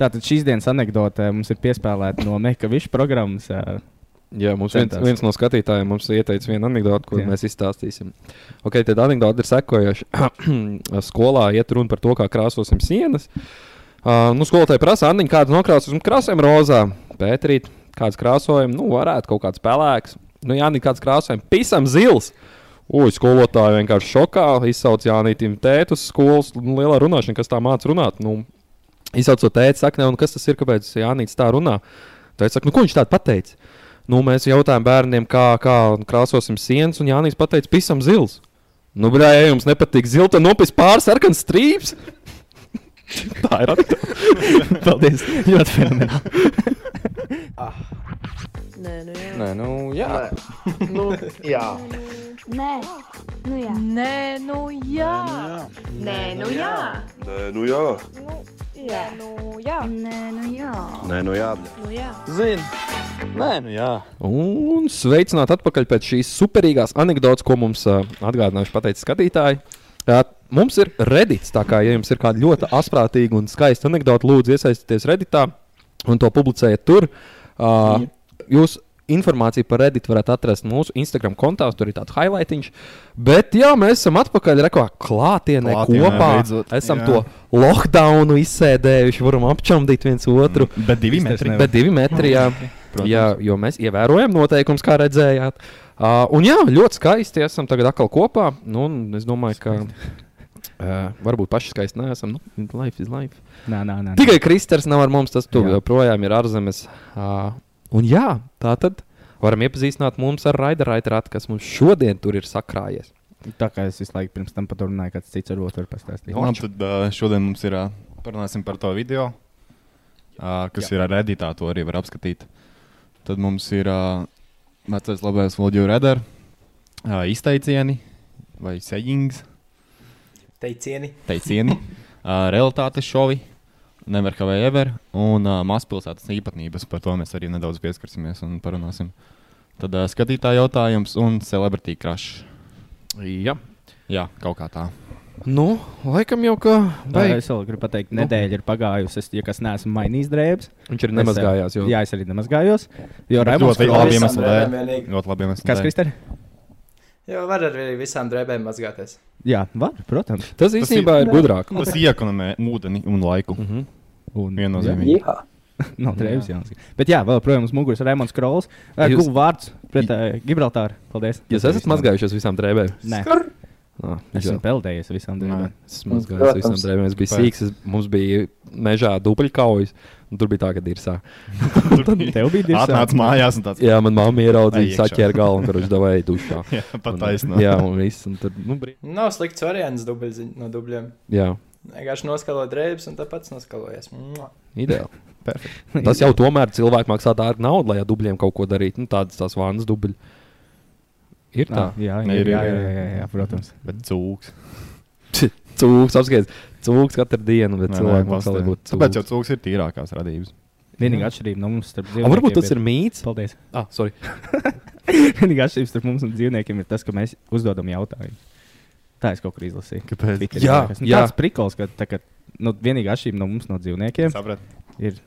Tātad šīs dienas anekdote mums ir piespēlēta no Mekaviča programmas. ā, Jā, mums viens, Centās. viens no skatītājiem mums ieteica vienu anekdoti, ko Jā. mēs izstāstīsim. Okay, tad anekdote ir sekojoša. Skolā iet runa par to, kā krāsosim sienas. Uh, nu, skolotāji prasa, Anniņ, kādas nokrāsosim krāsēm rozā. Pētrīt, kāds krāsojums, nu, varētu kaut kāds pelēks. Nu, Jānis, kāds krāsojums, pisam zils. Ugh, skolotāji vienkārši šokā izsauc Jānītam tētu uz skolas nu, lielā runāšana, kas tā māca runāt. Nu, izsaucot tēti, saka, ne, un kas tas ir, kāpēc Jānis tā runā? Tad es saku, nu, ko viņš tādu pateica? Nu, mēs jautājām bērniem, kā, kā krāsosim sienas, un Jānis pateica, pisam zils. Nu, brāl, ja jums nepatīk zils, tad nopis pāris sarkanas strīps. tā ir atbildība. Paldies! Ļoti fenomenāli. Nē, nu jā. Nē, nu, jā. Nu, jā, Nē, nu jā. Nē, nu jā. Nē, nu jā. Nē, nu jā, Jā, nu jā. Nē, nu jā. Nē, nu jā. Nu jā. Zini, nē, nu jā. Un sveicināti atpakaļ pēc šīs superīgās anekdotes, ko mums uh, atgādinājuši pateicis skatītāji. Uh, mums ir redīts, tā kā ja jums ir kāda ļoti asprātīga un skaista anekdote, lūdzu iesaistieties redītā un to publicējiet tur. Uh, jūs informāciju par redītu varat atrast mūsu Instagram kontā, tur ir tāds highlightiņš. Bet jā, mēs esam atpakaļ rekā klātienē, Klātienē, klātienē kopā. beidzot. Esam Jā. jā. to lockdownu izsēdējuši, varam apčamdīt viens otru. Bet divi metri. Bet divi metri, jā, jā, jo mēs ievērojam noteikumus, kā redzējāt. Uh, un jā, ļoti skaisti esam tagad atkal kopā. Nu, un es domāju, ka uh, varbūt paši skaisti neesam. Nu, life is life. Nē, nē, nē. nē. Tikai Kristers nav ar mums, tas tur Jā. joprojām ir ārzemes. Uh, un jā, tā tad varam iepazīstināt mums ar Raida Raitrātu, kas mums šodien tur ir sakrājies. Tā kā es visu laiku pirms tam pat runāju, kāds cits ar otru pastāstīja. Labi, tad uh, šodien mums ir uh, parunāsim par to video, uh, kas Jā. ir ar redītā, to arī var apskatīt. Tad mums ir uh, vecais labais Volģiju Redar, uh, izteicieni vai sejings, teicieni. teicieni, uh, realitātes šovi, never have I ever, un uh, mazpilsētas īpatnības, par to mēs arī nedaudz pieskarsimies un parunāsim. Tad uh, skatītāja jautājums un celebrity crush. Jā, Jā, kaut kā tā. nu, laikam jau ka Vai beig... es vēl gribu pateikt, nedēļa ir pagājusi. Es jokas neesmu mainījis drēbes. viņš ir nemazgājās. Jo... Jo... Jā, es arī nemazgājos. Jo Raimunds Ļoti labi Krolis. visam iemesli dēļ. bērnam vienīgi. Ļoti labi iemesli Kas, dēļ. Kristēr? Jā, var arī visām drēbēm mazgāties. Jā, var, protams. Tas īstenībā ir gudrāk. Mhm. Tas iekonomē ūdeni un laiku. Mm -hmm. Un, Viennozīmīgi. Jā, nav drēbes jāsaka. Bet jā, vēl projām uz muguras Raimunds Krolis. Jūs- Guvu vārds pret uh, Gibraltāru. Paldies. Jūs esat mazgājušies visām drēbēm. Nē, Ah, esmu peldējies visām drēbēm. Es mazgājos visam Protams. drēbēm. Es biju Pēc. sīgs, es, mums bija mežā dubļkaujas. un Tur bija tā, ka dirsā. Tev bija divi Atnāc mājās un tāds Jā, man mamma ieraudzīja, Ai, iekšā. saķēra galvu un kurš devāja dušā. - jā, pat Un, taisnība. Jā, un viss. Un tad, nu, brī... Nav slikts variants dubļziņ, no dubļiem. Jā, Vienkārši noskalo drēbes un tāpats noskalojies. Mua. ideāli. Perfekt. Tas jau tomēr cilvēks maksā dārgu naudu, lai ar dubļiem kaut ko darītu. Nu, tādas tās vānas dubļi. Ir tā. Ah, jā, jā, Ir, jā, ir, jā, ir. jā, jā, protams. Bet cūks. Cūks apskaties. Cūks katru dienu, bet cilvēks maksā, lai būtu Tāpēc Nu, jau cūks. cūks ir tīrākās radības. Vienīgā atšķirība no mums starp A, dzīvniekiem. varbūt tas ir mīts. Paldies. Ah, sorry. Vienīgā atšķirība starp mums un dzīvniekiem ir tas, ka mēs uzdodam jautājumus. Tā es kaut kur izlasīju. Kāpēc? Twitterī Jā, liekas. Nu, jā. tāds prikols, ka tā, kā, nu, vienīgā atšķirība no mums, no dzīvniekiem, Sapratu. ir.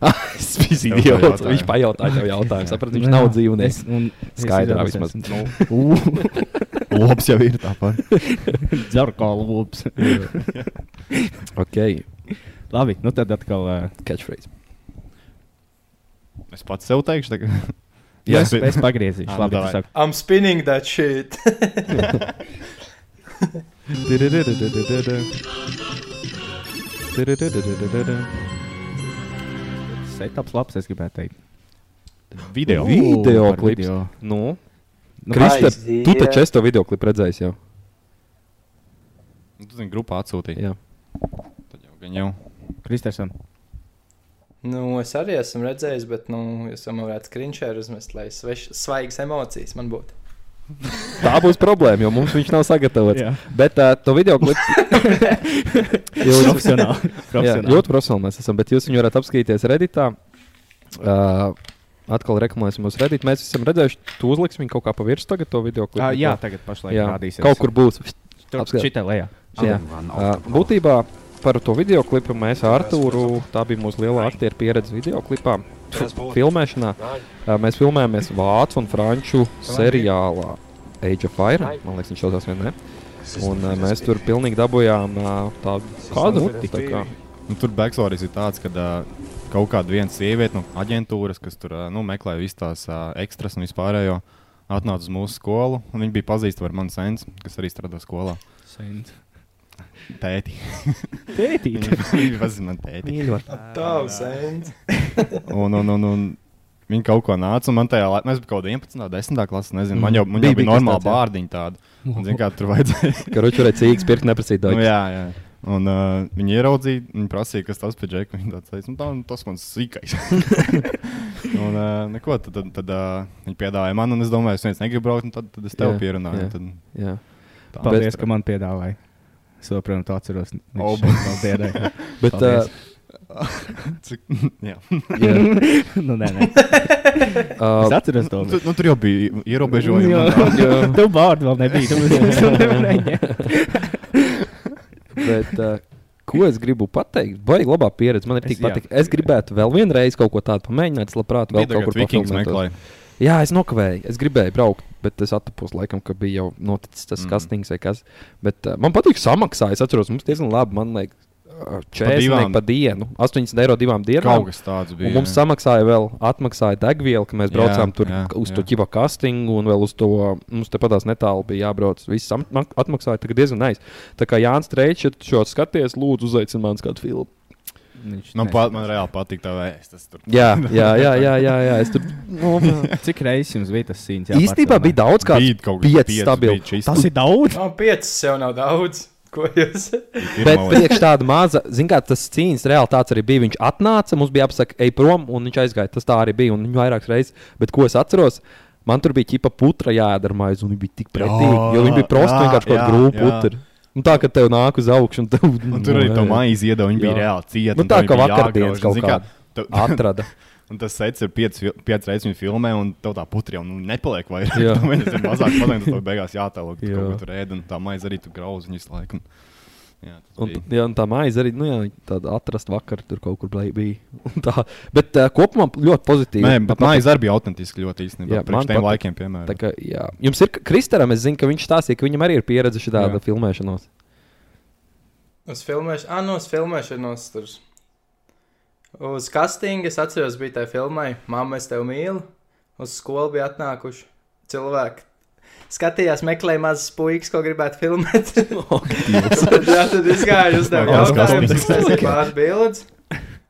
Ah, Es biju idiots. Tev pajautāju. Viņš pajautāja tev jautājumu. Sapratu, viņš nav dzīvnieks. Skaidrā vismaz. Nu, Lops jau ir tāpat. Dzerkola lūps. Ok, Labi, nu tad atkal. ā, catchphrase. Es pats sev teikšu, tagad. Jā, Jā, es, bet- es pagriezīšu. Ā, nu, Labi, davai. tu saki. I'm spinning that shit. Setups labs, es gribētu teikt. Video. Vi- Video Ū, par klips. video. Nu, Nu, Kristē, aiziet. tu taču esi to video klipu redzējis jau. Nu, Tu zini, grupā atsūtīja. Jā. Tad jau gan jau. Kristēsam, nu, es arī esmu redzējis, bet, nu, jūs man varētu skrinčēru uzmest, lai sveš, svaigas emocijas man būtu. Tā būs problēma, jo mums viņš nav sagatavots. Jā. Bet uh, to video klipu jūs, profesionāli. jā, profesionāli. ļoti profesionāli mēs esam, bet jūs viņu varat apskatīties Redditā. Uh, atkal reklamēsim uz Reddit. Mēs esam redzējuši, tu uzliksi viņu kaut kā pa virsmu tagad to video klipu. Ā, Ah, jā, tagad pašlaik jā. parādīsies. kaut kur būs. tur apskat. apskatīt. Šitā lejā. Jā. Uh, būtībā par to video klipu mēs ar Arthuru. Tā bija mūsu lielā aktieru pieredze video klipā. Filmēšanā Ā, mēs filmējāmies Vācu un Franču seriālā Age of Fire. Man liekas, viņš saucās vienā. Un ā, mēs tur pilnīgi dabūjām ā, tādu kādu notiku. Nu, tur backstory ir tāds, ka uh, kaut kāda viena sieviete no aģentūras, kas tur uh, nu, meklē visas tās uh, ekstras un vispārējo, atnāca uz mūsu skolu. un Viņa bija pazīstama ar mani sēnes, kas arī strādā skolā. Tēti. Tētīt. Viņa pazīstama ar tēti. Mīļotā. Tavs sēns. Un, un, un, un viņa kaut ko nāca, un man tajā laikā, mēs bijām kaut kādā 11. 10. klasē, nezinu, man jau, man jau Mm. Bija- bija bija kas normāla tāds, jā. bārdiņa tāda. Un, zin, kā, tur vajadzēja. Karuķis varēja cīņas pirkt, neprasīt nu, daudz. jā, jā. Un uh, viņi ieraudzīja, viņi prasīja, kas tas bija Džeks. Viņa tāds teica, nu, tā, nu, tas mans sīkais. un uh, neko, tad, tad, tad uh, viņi piedāvāja man, un es domāju, es viens negribu braukt, un tad, tad es tev Jā, pierunāju. jā. un Tad, nu, Jā. tā. Paldies, ka man piedāvāja. Es joprojām to atceros. O, Viņš šeit nav dziedājis. Bet, uh, Cik, jā. jā. nu, nē, nē. Es Uh, atceros to. Tu, nu, tur jau bija ierobežojumi. Jā, un tā. jā. tev vārdu vēl nebija. Tu mums to nevarēji ņemt. bet uh, ko es gribu pateikt? Baigi labā pieredze. Man ir Es- tik jā. patīk. Es gribētu vēl vienreiz kaut ko tādu pamēģināt. Es labprāt vēl Bija kaut tagad kur Vikings papilnētos. meklēja. Jā, es nokavēju. Es gribēju braukt, bet es atpūtos laikam, ka bija jau noticis tas Mm. mm. kastings vai kas. Bet, uh, man patīk samaksāt. Es atceros, mums diezgan labi. Man liekas, ā, 40 divām- eiro par dienu. 80 eiro divām dienām. Kaut kas tāds Un bija. mums samaksāja vēl, atmaksāja degvielu, ka mēs Jā, braucām jā, tur jā, jā, uz to jā. ķipa kastingu, un vēl uz to mums tepatās netālu bija jābrauc. Viss sam- mak- atmaksāja, tagad diezgan aiz. Tā kā Jānis Strēčs, ja tu šo skaties, lūdzu, uzaicini man uz kādu filmu. Viņš Nu, nezina. pat, man reāli patīk tā vēsts. tas tur- Jā, jā, jā, jā, jā, jā. Es tur nu, Cik reizes jums bija tas sīns? īstenībā bija daudz kā Bija kaut kas pieci pieci stabili. bija čist. Tas ir daudz. Man piecas jau nav daudz. Ko jūs? Ir Bet malīts. priekš tāda maza, zināmā mērā, tas cīņas reāli tāds arī bija. Viņš atnāca, mums bija jāpasaka, ej prom, un viņš aizgāja. Tas tā arī bija, un viņš vairākas reizes, bet ko es atceros. Man tur bija ķipa putra jādarbojas, un viņi bija tik pretīgi. Jo viņi bija prosti jā, vienkārši kaut jā, kāda grūta jā. putra. Un tā, ka tev nāk uz augšu, un tev Un tur arī to maizi iedod, viņi bija Jā. reāli cieti. Nu un tā tev kā bija vakardienas jāgrauž, kaut zini, kā kāda. tev- Atrada. Un tas sets ir piecas piec reizes viņa filmē, un tev tā putra jau nu, nepaliek vairāk. Jā. Jā, viņa ir mazāk, paliek, tad tev beigās jāatēlo, ka tu Jā. kaut ko tur ēd, un tā maize arī tu grauz viņu visu laiku. un- Jā, tas Un, bija. t- jā, un tā maize arī, nu jā, tāda atrast vakar tur kaut kur blai- bija. Un Tā, bet uh, kopumā ļoti pozitīvi. Nē, bet Man maize arī bija autentiska ļoti Jā, īstenībā. man Pirms tiem patīk. laikiem, piemēram. Tā kā, jā. Jums ir Kristēram, es zinu, ka viņš stāstīja, ka viņam arī ir pieredze šāda Jā. filmēšanās. Uz filmēšanas, ah, no uz filmēšanas tur. Uz castinga es atceros, bija tā filmai, Māma, es tevi mīlu. Uz skolu bija atnākuši cilvēki. Skatījās, meklēja mazas puikas, ko gribētu filmēt. Tad, jā, tad es gāju uz tevi Jā, jautājumu, castings. tas ir pārbildes.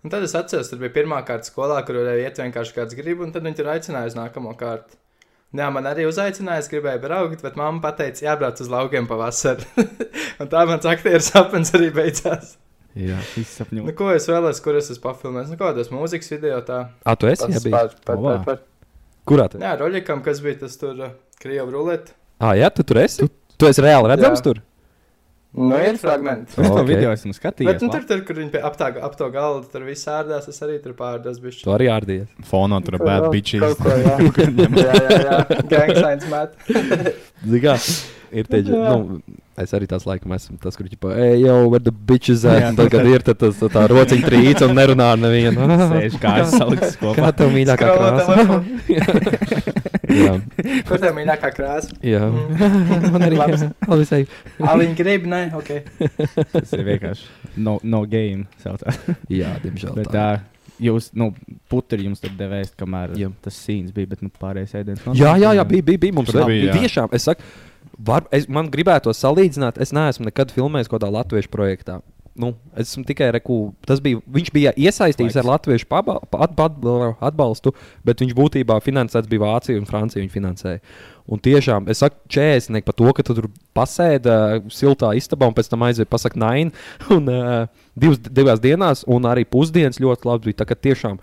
Un tad es atceros, tur bija pirmā kārta skolā, kur varēja iet vienkārši kāds grib, un tad viņi tur aicināja uz nākamo kārtu. Jā, man arī uzaicināja, es gribēju braukt, bet mamma teica, jābrauc uz laukiem pavasarī. un tā mans aktieru sapnis arī beidzās. Jā, Viss Nu, sapņo. ko es vēlos, kur es esmu papilnējis? Nu, kādas mūzikas video tā? A, Ah, tu esi? Jā, bija. Olā. Kurā tu? Jā, Roļikam, kas bija tas tur uh, Krievu rulete. Ah, jā, tu tur esi. Tu, tu esi reāli redzams Jā. tur. Nu, ir fragmenti. Es to Ok. video esmu Bet skatījies. nu, tur, tur, kur viņi pie- ap, tā, ap to galdu tur viss ārdās, es arī tur pārdos bišķi. Tu arī ārdies. Fonā tur ir bad bitches. Kaut ko, jā. jā, jā, jā. Gangstains met. Zigā, ir tie, dž- nu, es arī tās laikam esmu tas, kur ķipa, ej, jau, where the bitches at, un tad, kad ir, tad tas tā rociņa trīc un nerunā ar nevienu. Sēž kājas salikts kopā. Kā tev mīļākā Skrolo krāsa? jā, Kur tev mīļākā krāsa? jā. Man arī Labs. labi sevi. Aliņa grib, nē, ok. Tas ir vienkārši no, no game. Saucās. Jā, diemžēl. Bet tā, jūs, nu, putri jums tur devēs, kamēr Jā. tas sīns bija, bet nu pārējais ēdiens. Jā, jā, jā bija, bija, bija. Mums Tur bija, bija, bija jā. tiešām. Es saku, var, es, man gribētu salīdzināt, es neesmu nekad filmējis kaut kādā latviešu projektā. Nu, es esmu tikai reku, tas bija. Viņš bija iesaistīts ar latviešu pabal- pa- atba- atbalstu, bet viņš būtībā finansēts bija Vācija un Francija. Viņa finansēja. Un tiešām, es saku, čēsnieki par to, ka tu tur pasēdi siltā istabā un pēc tam aizjūti pasakā naini. Un uh, divas, divās dienās, un arī pusdienas ļoti labi bija. Tā kā tiešām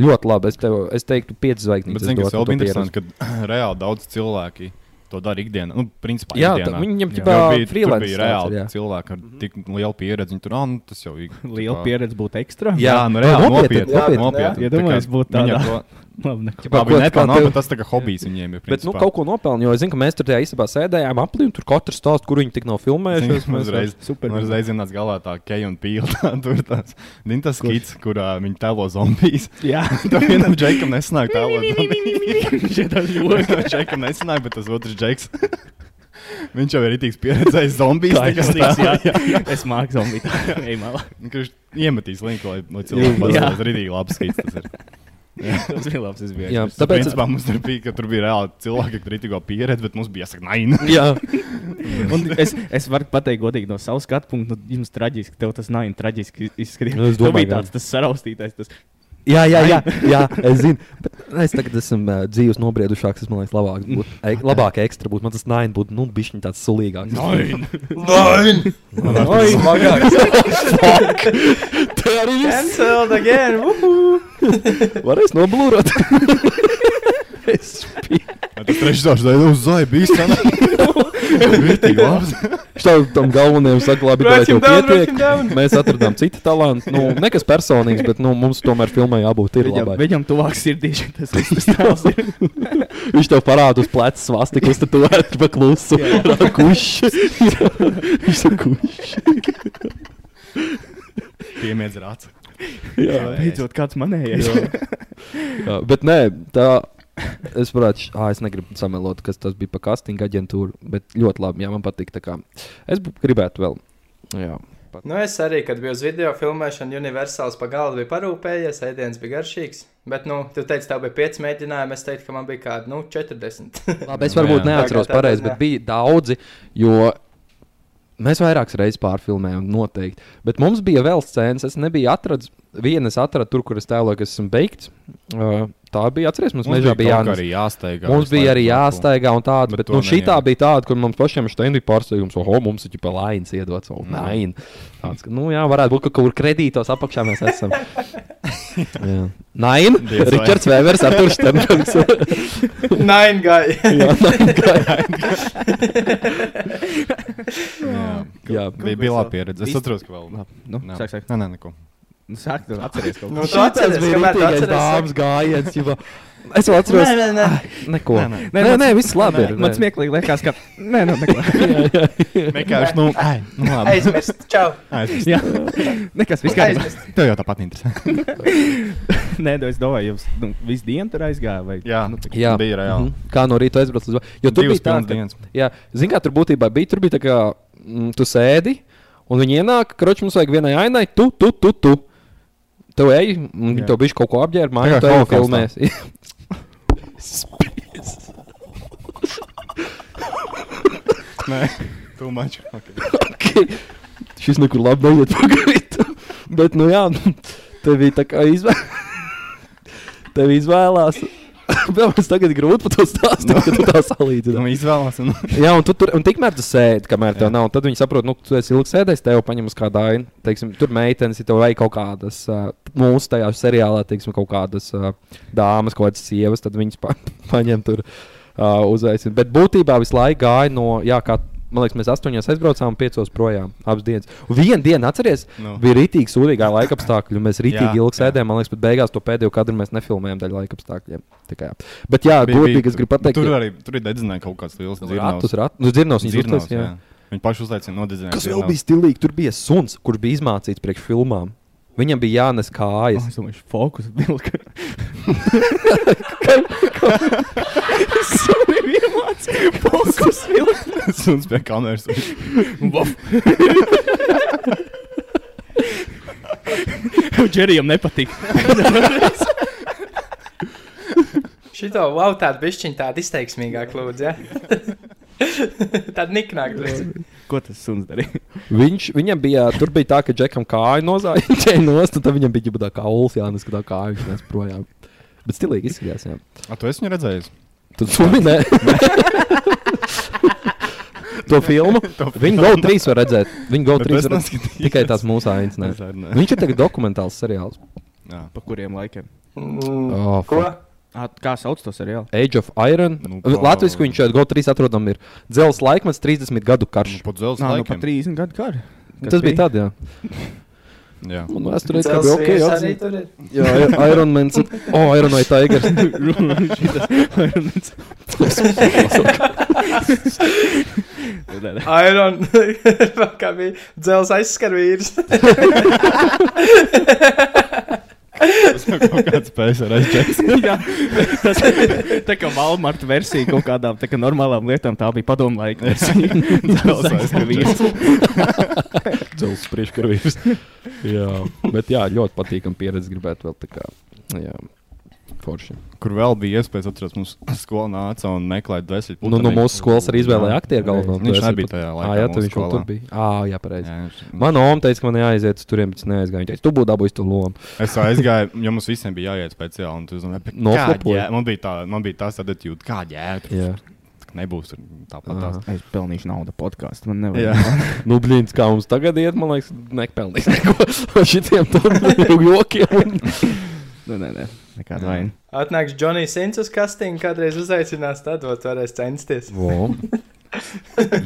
ļoti labi. Es, tev, es teiktu, pieci zvaigznes. Bet es zini, dotu kas vēl to bija pieredzi. interesanti, ka reāli daudz cilvēki to dara ikdienā. Nu, principā, Jā, tā, ikdienā. viņam Jā. ķipā Jo bija- tur freelance bija tāds ir, reāli jā. cilvēki ar tik lielu pieredzi. Viņi tur, ah, nu, tas jau ir. Liela pieredze būtu ekstra. Jā, nu reāli nopietni, nopietni. nopietni, jā. nopietni. Iedomājies būt Viņa tādā. to- Labi, neko. Ķipā, ko- Labi, nē, kā tā nav, tev- bet tas tā kā hobijs viņiem ir. Bet nu, principā. kaut ko nopelnīju, jo es zinu, ka mēs tur tajā īstenībā sēdējām aplī, un tur katrs stāsta, kur viņi tik nav filmējušies. Zini, man Mēs- uzreiz, Super. man uzreiz ienāca galvā tā keja un pīla. Tā, tur tas ir tas skits, kurā viņi tēlo zombijas. Jā, Tam vienam džekam nesanāk tēlot zombijas. šitās ļoti. Vienam džekam nesanāk, bet tas otrs džeks. Viņš jau ir itīgs pieredzējis zombijas. Tā ir tā kā slikts, tēlo. jā. Es māku zombiju. Ej, malā. Viņš iemetīs linku, lai no cilvēkiem Jā. pazīstās rītīgi labs skits. Tas ir. Tas bija labs, es biju. Jā, aizmirsis. Tāpēc tāpēc. principā, mums tur bija, ka tur bija reāli cilvēki, kur rītīgo pieredzi, bet mums bija jāsaka, naina. Jā, Un es, es varu pateikt, godīgi, no savas skatu punkta, nu, jums traģiski, tev tas nav traģiski izskatījās. Nu, es Tev domāju, bija jā. tāds tas saraustītais. Tas... jā, jā, jā, jā es zinu. Bet Es tagad esmu uh, dzīves nobriedušāks, tas man liekas, labāk būtu. E labāk ekstra būtu, man tas nāja būtu, nu, bišķiņ tāds sulīgāks. Nine! Oi, Smagāks! tā arī viss. Cancelled again! Uhu! Varēs noblūrot. Es biju. Tas trešais daļa uz zaibīs. Rītīgi labs. Šādu tam galvenajam saka, labi, Write tā jau him down, write pietiek. him down. Mēs atradām citu talantu. Nu, nekas personīgs, bet nu, mums tomēr filmai jābūt ir Viņam, labai. viņam tuvāk sirdī šī- tas viss tas tēls ir. Viņš tev parāda uz pleca svastiku, tad tu vari pa klusu. Kurš? Viņš ir kurš. Piemiedz rāca. Jā, beidzot, kāds manējais. Bet nē, tā. Es varētu, š- ah, es negribu samelot, kas tas bija pa casting aģentūru, bet ļoti labi, jā, man patīk. tā kā. Es bu- gribētu vēl. Jā. Nu, es arī, kad biju uz video filmēšanu, Universāls pa galdu bija parūpējies, ēdiens bija garšīgs. Bet, nu, tu teici, tev bija 5 mēģinājumi, es teicu, ka man bija kādi, nu, 40. Labi, es varbūt Jā. neatceros Tā kā tā, pareizi, jā. bet bija daudzi, jo mēs vairākas reizes pārfilmējām, noteikti. Bet mums bija vēl scēnas, es nebiju atradis, viena es atradu tur, kur es tēloju, kas esmu beigts. Uh, tā bija, atceries, mums, mums mežā bija kaut kā jānes. arī jāsteigā. Mums visu bija laiku arī kaut ko. jāsteigā, un tāda, Bet bet, bet to nu, šī tā neieliku. bija tāda, kur mums pašiem štendi pārsteigums, oh, mums ir pa lains iedots, Mm. oh, nē, tāds, ka, nu jā, varētu būt, ka kaut kur kredītos apakšā mēs esam. Jā. Nain, Diez vai. Ričards Vēvers, Artur Štenbergs. Nine guy! Jā, nain, kā, jā. Jā, Jā. bija, bija laba pieredze. Es Īsti- atceros, ka vēl. Nu, Nē. sāk, sāk. Nē, nē, neko. Nu, sāk, tu atceries kaut ko. Nu, tu Tas atceries, bija kamēr tu rītīgais atceries. dāmas gājiens. Jau. Es vēl atceros, Nē, nē, nē. ka neko. Nē, nē, nē, Nē, nē viss labi. ir, Man nē. smieklīgi liekas, ka. Nē, nu, neko. Vienkārši, nu, ai, nu labi. Aizmirst, čau! Ai, es- Jā, nekas viss kārtībā. Aizmirst! Tev jau tāpat interesē. Nē, nu, es domāju, jums nu, visu dienu tur aizgāja. Vai... Jā, nu, Jā, bija reāli. Mhm. Kā no rīta aizbraucu uz Vāciju? Jo tur Divas bija tā, ka, pilnas dienas. jā, zin, kā tur būtībā bija. Tur bija tā, ka mm, tu sēdi un viņi ienāk, kroči mums vajag vienai ainai, tu, tu, tu. tu. Tev ej, un viņi Jā. tev bišķi kaut ko apģērba, kā māja, tev holokaustā. filmēs. Nē, too much. Okay. Ok. Šis nekur labi neiet pagaidām. Bet, nu jā, nu, tev bija tā kā izvēle. Tev izvēlās. Vēl mums tagad grūti par to stāstīt, ka tu tā Nu, salīdzini. izvēlās. Un... Jā, un, tu, tur, un tikmēr tu sēdi, kamēr tev Jā. nav. un Tad viņi saprot, nu, tu esi ilgi sēdējis, tev paņem uz kāda aina. Teiksim, tur meitenes, ja tev vajag kaut kādas uh, mūsu tajā seriālā, teiksim, kaut kādas uh, dāmas, kaut kādas sievas, tad viņas pa, paņem tur uh, uzaicina. Bet būtībā visu laiku gāja no, jā, kā, man liekas, mēs astoņos aizbraucām, piecos projām, abas dienas. Un vienu dienu atceries, Nu. nu. bija rītīgi sūdīgā laika apstākļi, un mēs Jā, rītīgi ilgi jā. sēdējām, man liekas, bet beigās to pēdējo kadru mēs nefilmējām daļu laika apstākļiem. Tā kā jā. Bet jā, godīgi es gribu pateikt, Nu, Tur arī tur ir dedzinājums kaut kāds liels. Ratus, ratus, nu, dzirnos, Dzirnavs, dzirnos, jā. jā. Viņi paši uzlaicīja nodedzinājumu. Kas vēl bija stilīgi? Tur bija suns, kurš bija izmācīts priekš filmām. Viņam bija jānes Oh, kājas. es domāju, fokus vilka. Fokus vilks! suns pie kameras? Džerijam nepatīk. Šito wow, tādu bišķiņu tādu izteiksmīgāku lūdzu, ja? Tāda niknāk drusku. Ko tas suns darīja? Viņš, viņam bija, tur bija tā, ka džekam kāja nozāģēja nost, un tad viņam bija ģibā kauls, jānes, ka tā kāja viņš nes projām. Bet stilīgi izskatījās, jā. A, tu esi viņu redzējis? Tad sumi, nē. to filmu. Viņu GO 3 var redzēt. Viņu GO Bet 3 es var redzēt. neskatījos. Tikai tās mūsu ainas, nē. Es arī ne. Viņš ir tagad dokumentāls seriāls. Jā. Pa kuriem laikiem? Mm, Oh, Ko? À, kā sauc to seriālu? Age of Iron. Nu, Nu, pa- Latvijas viņš šeit GO 3 atrodam ir dzels laikmets 30 gadu karš. Pat zelta Nā, nu, pa laikam. 30 gadu karu. Nu, Tas bija tad, jā. Jā. Man vēsturē tā Cels bija ok. vīrs arī Jā, tur ir. jā I- Iron Man. O, Iron Man Tiger. Iron, kā bija dzels aizskarvīrs. Tas ir kaut kāds PSRS čeks. Jā, tas tā kā Walmart versija kaut kādām tā kā normālām lietām, tā bija padomu laika versija. Tas aizskavīts. Cilvēks priekškaravīrs. jā, bet jā, ļoti patīkam pieredzi gribētu vēl tā kā. Jā. Forši. Kur vēl bija iespējas atrast, mums skolā nāca un meklēja dvēseli. Nu, no mūsu skolas arī izvēlēja aktieru galveno. Viņš Tu esi nebija pat- tajā laikā Ā, jā, mūsu tad viņš vēl skolā. tur bija. Ā, jā, pareizi. Jā, viņš- Mana oma teica, ka man jāaiziet uz turieni, bet es neaizgāju. Viņa teica, tu būsi dabūjis to lomu. Es aizgāju, jo mums visiem bija jāiet speciāli. un tu zini, "Bet Noflipoji? kāda jē- Man bija tā, man bija tā attitūda, kā jēga. Jā, Nebūs tur tāpat Aha. tās. Es pelnīšu naudu podkāstu. Man Jā. nevajag. nu, blīns, kā mums tagad iet, man liekas, nekpelnīs neko ar šitiem tādiem jokiem. Nu, nē, nē, nekāda vaina. Atnāks Džonijs Sins uz kastingu, kādreiz uzaicinās, tad vot varēs censties. Vo.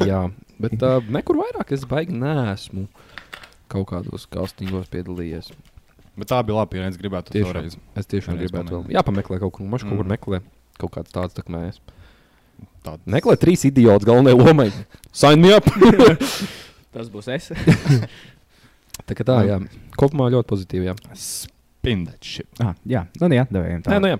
Jā, bet uh, nekur vairāk es baigi nesmu kaut kādos kastingos piedalījies. Bet tā bija laba pieredze. Gribētu to Tiešām. reizi. Es tiešām Vienreiz gribētu vēl. pamēģināt. Jā, pameklē kaut kur, maš kaut kur Mm. meklē. Kaut kāds tāds tā kā mēs. Tāda Meklē trīs idiotus galvenajai lomai. Sign me up! Tas būs es. tā kā tā, jā. Kopumā ļoti pozitīvi, jā. spindačs. Ah, jā, nu jā, devējiem tā. Nē, nu jā.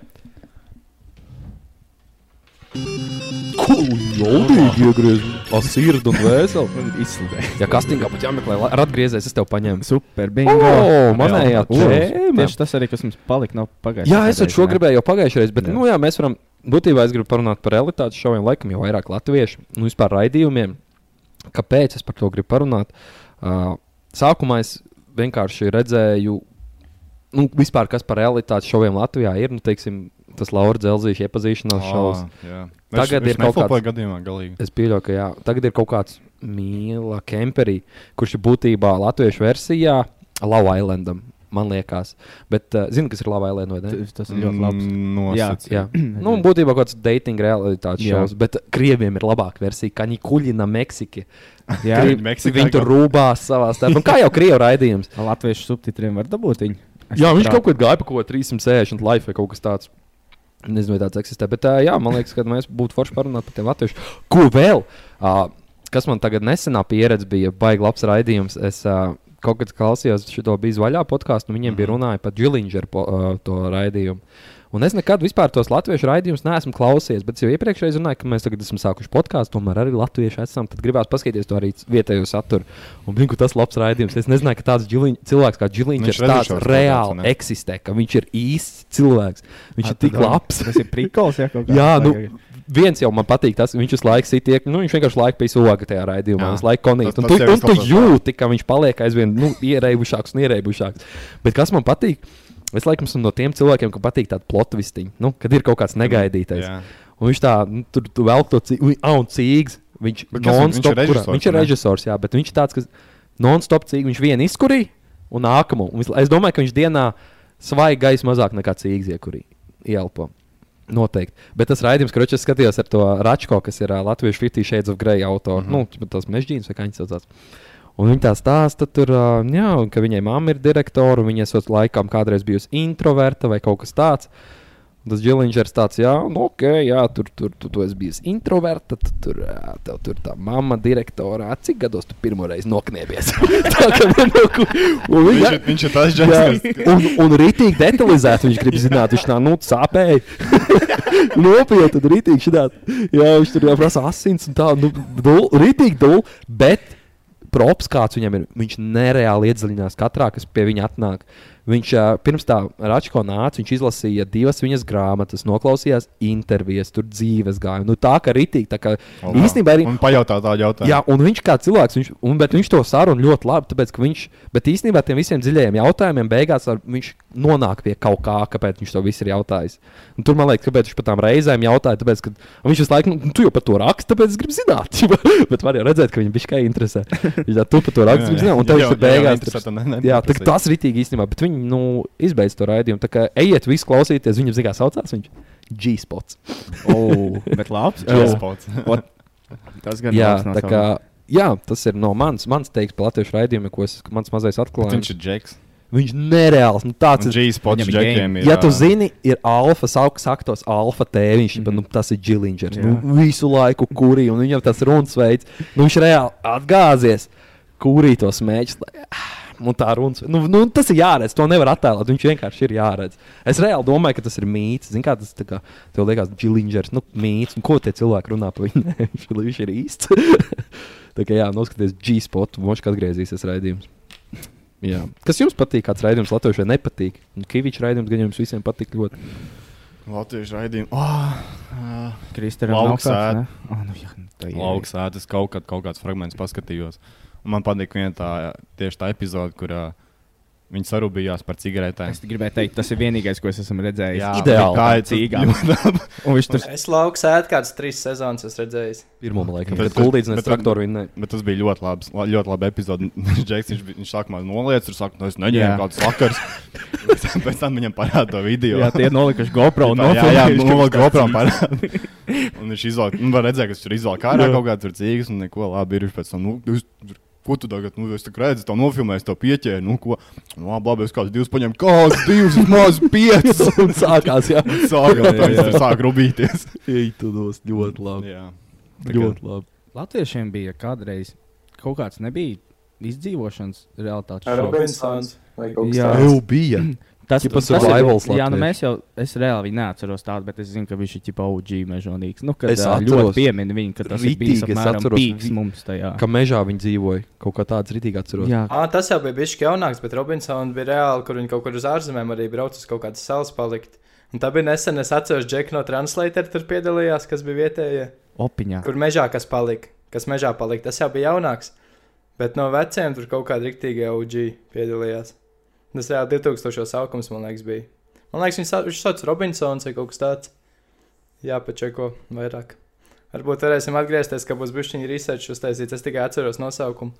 Jaudīgi iegriezumi. Asirdu un vēseli. nu, Izsludē. Ja kastingā pat jāmeklē, lai- ar atgriezies, es tev paņēmu. Super, bingo. O, manējā O, tēma. Tieši tas arī, kas mums palika no pagājušā. Jā, es ar šo gribēju jau pagājušajā reizē, bet, Jā. jā. nu, jā, mēs varam, būtībā es gribu parunāt par realitātes šoviem, laikam jau vairāk latviešu, nu, vispār raidījumiem. Kāpēc es par to gribu parunāt? Uh, sākumā es vienkārši redzēju, nu, vispār, kas par realitātes šoviem Latvijā ir, nu, teiksim, tas Laura Zelzīša iepazīšanās šovs. Tagad Tagad ir ir kaut kaut kāda kāds- gadījumā galīgi. Es pieļauju, ka jā, tagad ir kaut kāds mīla kemperī, kurš ir būtībā latviešu versijā Lava Islandam, man liekas. Bet, uh, zinu, kas ir Lava Island vai ne? Tas ir ļoti Mm, labs. Nosacījums. Jā, nu, būtībā kaut kāds dating realitātes Jā. šovs, bet krieviem ir labāka versija, kā viņi kuļina Meksiki. Jā, Krievi- Meksikā viņi tur gan. rūpās savā starpā. Nu, Kā jau krievu raidījums? Latviešu subtitriem var dabūt viņu. Es Jā, viņš sapratu. kaut kur gāja pa kaut ko 360 life vai kaut kas tāds. Nezinu, vai tāds eksistē, bet ā, jā, man liekas, ka mēs būtu forši parunāt par tiem latviešiem. Ko vēl? Ā, Kas man tagad nesenā pieredze bija, baigi labs raidījums. Es ā, kaut kad klausījos šo beigas vaļā podkāstu, un viņiem bija Mhm. runāja par Džilindžeru to raidījumu. Un es nekad vispār tos latviešu raidījumus neesmu klausījies, bet es jau iepriekšēji zināju, ka mēs tagad esam sākuši podkāstu, tomēr arī latvieši esam. Tad gribās paskatīties to arī vietējo saturu. Un, blinku, tas labs raidījums. Es nezināju, ka tāds Džiliņ, cilvēks kā Džiliņš Viņš ir tāds redušos podcasts, vai reāli ne? eksistē, ka viņš ir īsts cilvēks. Viņš ir tik tad, labs. Tas ir prikols, jā, kaut kā. Jā, nu, viens jau man patīk, tas viņš uz laiku sitiek. Nu, viņš vienkārši laiku pēc oga tajā raidījumā, Jā. uz laiku konīst. Un Tas- tu, tas jau un tu izklausās, jā. jūti, ka viņš paliek aizvien nu, ierēbušāks un ierēbušāks. Bet kas man patīk? Es laikam esmu no tiem cilvēkiem, kam patīk tāda plotvistiņa, nu, kad ir kaut kāds negaidītais. Mm. Jā. Un viņš tā, nu, tur tu vēl to cīņu, un cīgs. Viņš, Bet kas viņš- viņš ir non-stop kurā- režisors, viņš ir vai ne? režisors, jā, bet viņš ir tāds, kas non-stop cīgs. Viņš vienu izkurīja un nākamo. Un visu- es domāju, ka viņš dienā svaigi gaisa mazāk nekā cīgs iekurīja. Ielpo. Noteikti. Bet tas raidījums, kurš es skatījos ar to Račko, kas ir uh, Latvijas 50 Shades of Grey Mhm. autors, mm -hmm. nu, ķipa tas mežģīns vai kā viņš saucās. Un viņa tā stāsta, tur, ā, jā, un ka viņai mamma ir direktore, un viņa esot laikam kādreiz bijusi introverta vai kaut kas tāds. Un Tas Džilingers tāds, jā, nu, ok, jā, tur, tur, tu, tu esi bijis introverta, tu, tur, ā, tev tur tā mamma direktorā, cik gados tu pirmoreiz noknēbies? tā kā vienalga. Un Viņš, viņa- ir- viņš ir tas Jā, ģērbs, un, un rītīgi detalizēti viņš grib zināt, viņš tā nu sāpēja. Nopietni, tad rītīgi šitā. Jā, viņš tur jau prasa asins un tā, nu, dul, rītīgi dul, bet props kāds viņam ir. Viņš nereāli iedziļinās katrā, kas pie viņa atnāk. Viņš ā, pirms tam Račko nāca, viņš izlasīja divas viņas grāmatas, noklausījās intervijas, tur dzīves gāja. Nu, tā kā rītīgi, tā kā kas īstenībā arī Un pajautā tādu jautājumu. Jā, un viņš kā cilvēks, viņš, un, bet viņš to sarunu ļoti labi, tāpēc, ka viņš, bet īstenībā tiem visiem dziļajiem jautājumiem beigās ar, viņš nonāk pie kaut kā, kāpēc viņš to visu ir jautājis. Un tur man liekas, kāpēc viņš par tām reizēm jautāja, tāpēc, ka un viņš visu laiku, nu, tu jau par to raksti, tāpēc es gribu zināt, bet var jau redzēt, ka viņam bija tikai interesē. Viņš tā, tu par to raksti, viņš zina, un tev Jā, viņš tur jā, jā, beigās. interesē, tur- tad ne- ne- Jā, tā, neprasīt. tas ir rītīgi īstenībā, bet viņi nu, izbeidz to raidījumu. Tā kā ejiet, visu klausīties, viņam zina, kā saucās viņš. G-spots. Oh, O, bet labs. Čespots. O, Tas gan Jā, labs no tā sava. kā jā, tas ir no mans, mans teiks, latviešu raidījuma, ko es, mans mazais atklājums. Viņš ir Džeks. Viņš nereāls. Nu, tāds ir. Džeks pods Viņam ir Džekiem ir. Ja ā, tu zini, ir alfa, augsts aktos, alfa tēviņš, mm -hmm. nu, tas ir Džilingers. Nu, visu laiku kurī, un viņam tas runas veids, nu, viņš reāli atgāzies, kurī tos mēģinās. Un tā runas, nu, nu, tas ir jāredz, to nevar attēlot. Viņš vienkārši ir jāredz. Es reāli domāju, ka tas ir mīts. Zini, kā tas tā kā, tev liekas, Džilingers, nu, mīts. Un ko tie cilvēki runā par viņu? Nē, viņš, viņš ir īsts. tā kā jā, noskaties G-spot, moškā atgriezīsies raidījums. Jā. Kas jums patīk? Kāds raidījums Latvijai vai nepatīk? Nu, Kavičs raidījums gan jums visiem patīk ļoti. Latviešu raidījumu. Oh, uh, Kristēna Lauks ēd. Oh, nu, jā, nu, tā ir. Lauks ēdas kaut, kad, kaut kāds fragments paskatījos. Un man patīk viena tā, tieši tā epizode, kur uh, viņi sarūpējās par cigaretēm. Es gribēju teikt, tas ir vienīgais, ko es esmu redzējis. ideāli. Tā ir Cīgā. cīņa. Un viņš tur Es lauku sēdu kādas trīs sezonas, es redzēju. Pirmā laikam, Bet- kad guldīts bet- nes traktoru viņa. Bet tas bija ļoti labs, la- ļoti labi epizode. Džeks, viņš, bija- viņš sākumā noliec, tur saka, no es Jā. neņēmu kaut kādas sakars. Pēc tam viņam parāda to video. jā, tie ir nolikuši GoPro un Tā, jā, jā, nofilmējuši, nu, vēl ka viņš GoPro parāda. Un viņš izvēlējās, nu, var redzēt, ka viņš tur izvēlējās kārā kaut kādas tur cīgas un neko labi ir. Viņš pēc tam, nu, jūs, tur, ko tu tagad, nu, es tur redzu, to nofilmēju, es to pieķēru, nu, ko. Nu, labi, labi, es kāds divus paņēmu, kāds divus, maz piecus. Un sākās, jā, Sākot, tad viņš tur sāk rubīties. ietudos ļoti labi. Jā. Jā, ļoti labi. Latviešiem bija kādreiz kaut kāds nebija izdzīvošanas realitātes šovs. Robinsons vai kaut Jā. kas Jau bija. Tas Ķipa ir- survivals Jā, nu latviešu. mēs jau, es reāli viņu neatceros tādu, bet es zinu, ka viņš ir tipā OG mežonīgs. Nu, kad, es Es ā, atceros. ļoti pieminu viņu, ka tas Ritīgi bija es atceros. pīks Vi- mums tajā. Kā mežā viņi dzīvoja, kaut kā tāds rītīgi atceros. Jā, Ah, tas jau bija bijis jaunāks, bet Robinsona bija reāli, kur viņi kaut kur uz ārzemēm arī brauca uz kaut kādas salas palikt. Un tā bija nesen, es atceros, Džek no Translator tur piedalījās, kas bija vietējais. opiņā. Kur mežā kas palika? Kas mežā palika? Tas jau bija jaunāks. Bet no veciem tur kaut kāda rīktīga OG piedalījās. Tas jau 2000 sākums, man liekas, bija. Man liekas, viņš, sau- viņš sauc Robinsons vai kaut kas tāds. Jā, pačeko vairāk. Varbūt varēsim atgriezties, ka būs bijusi šī research uztaisīta. Es tikai atceros nosaukumu.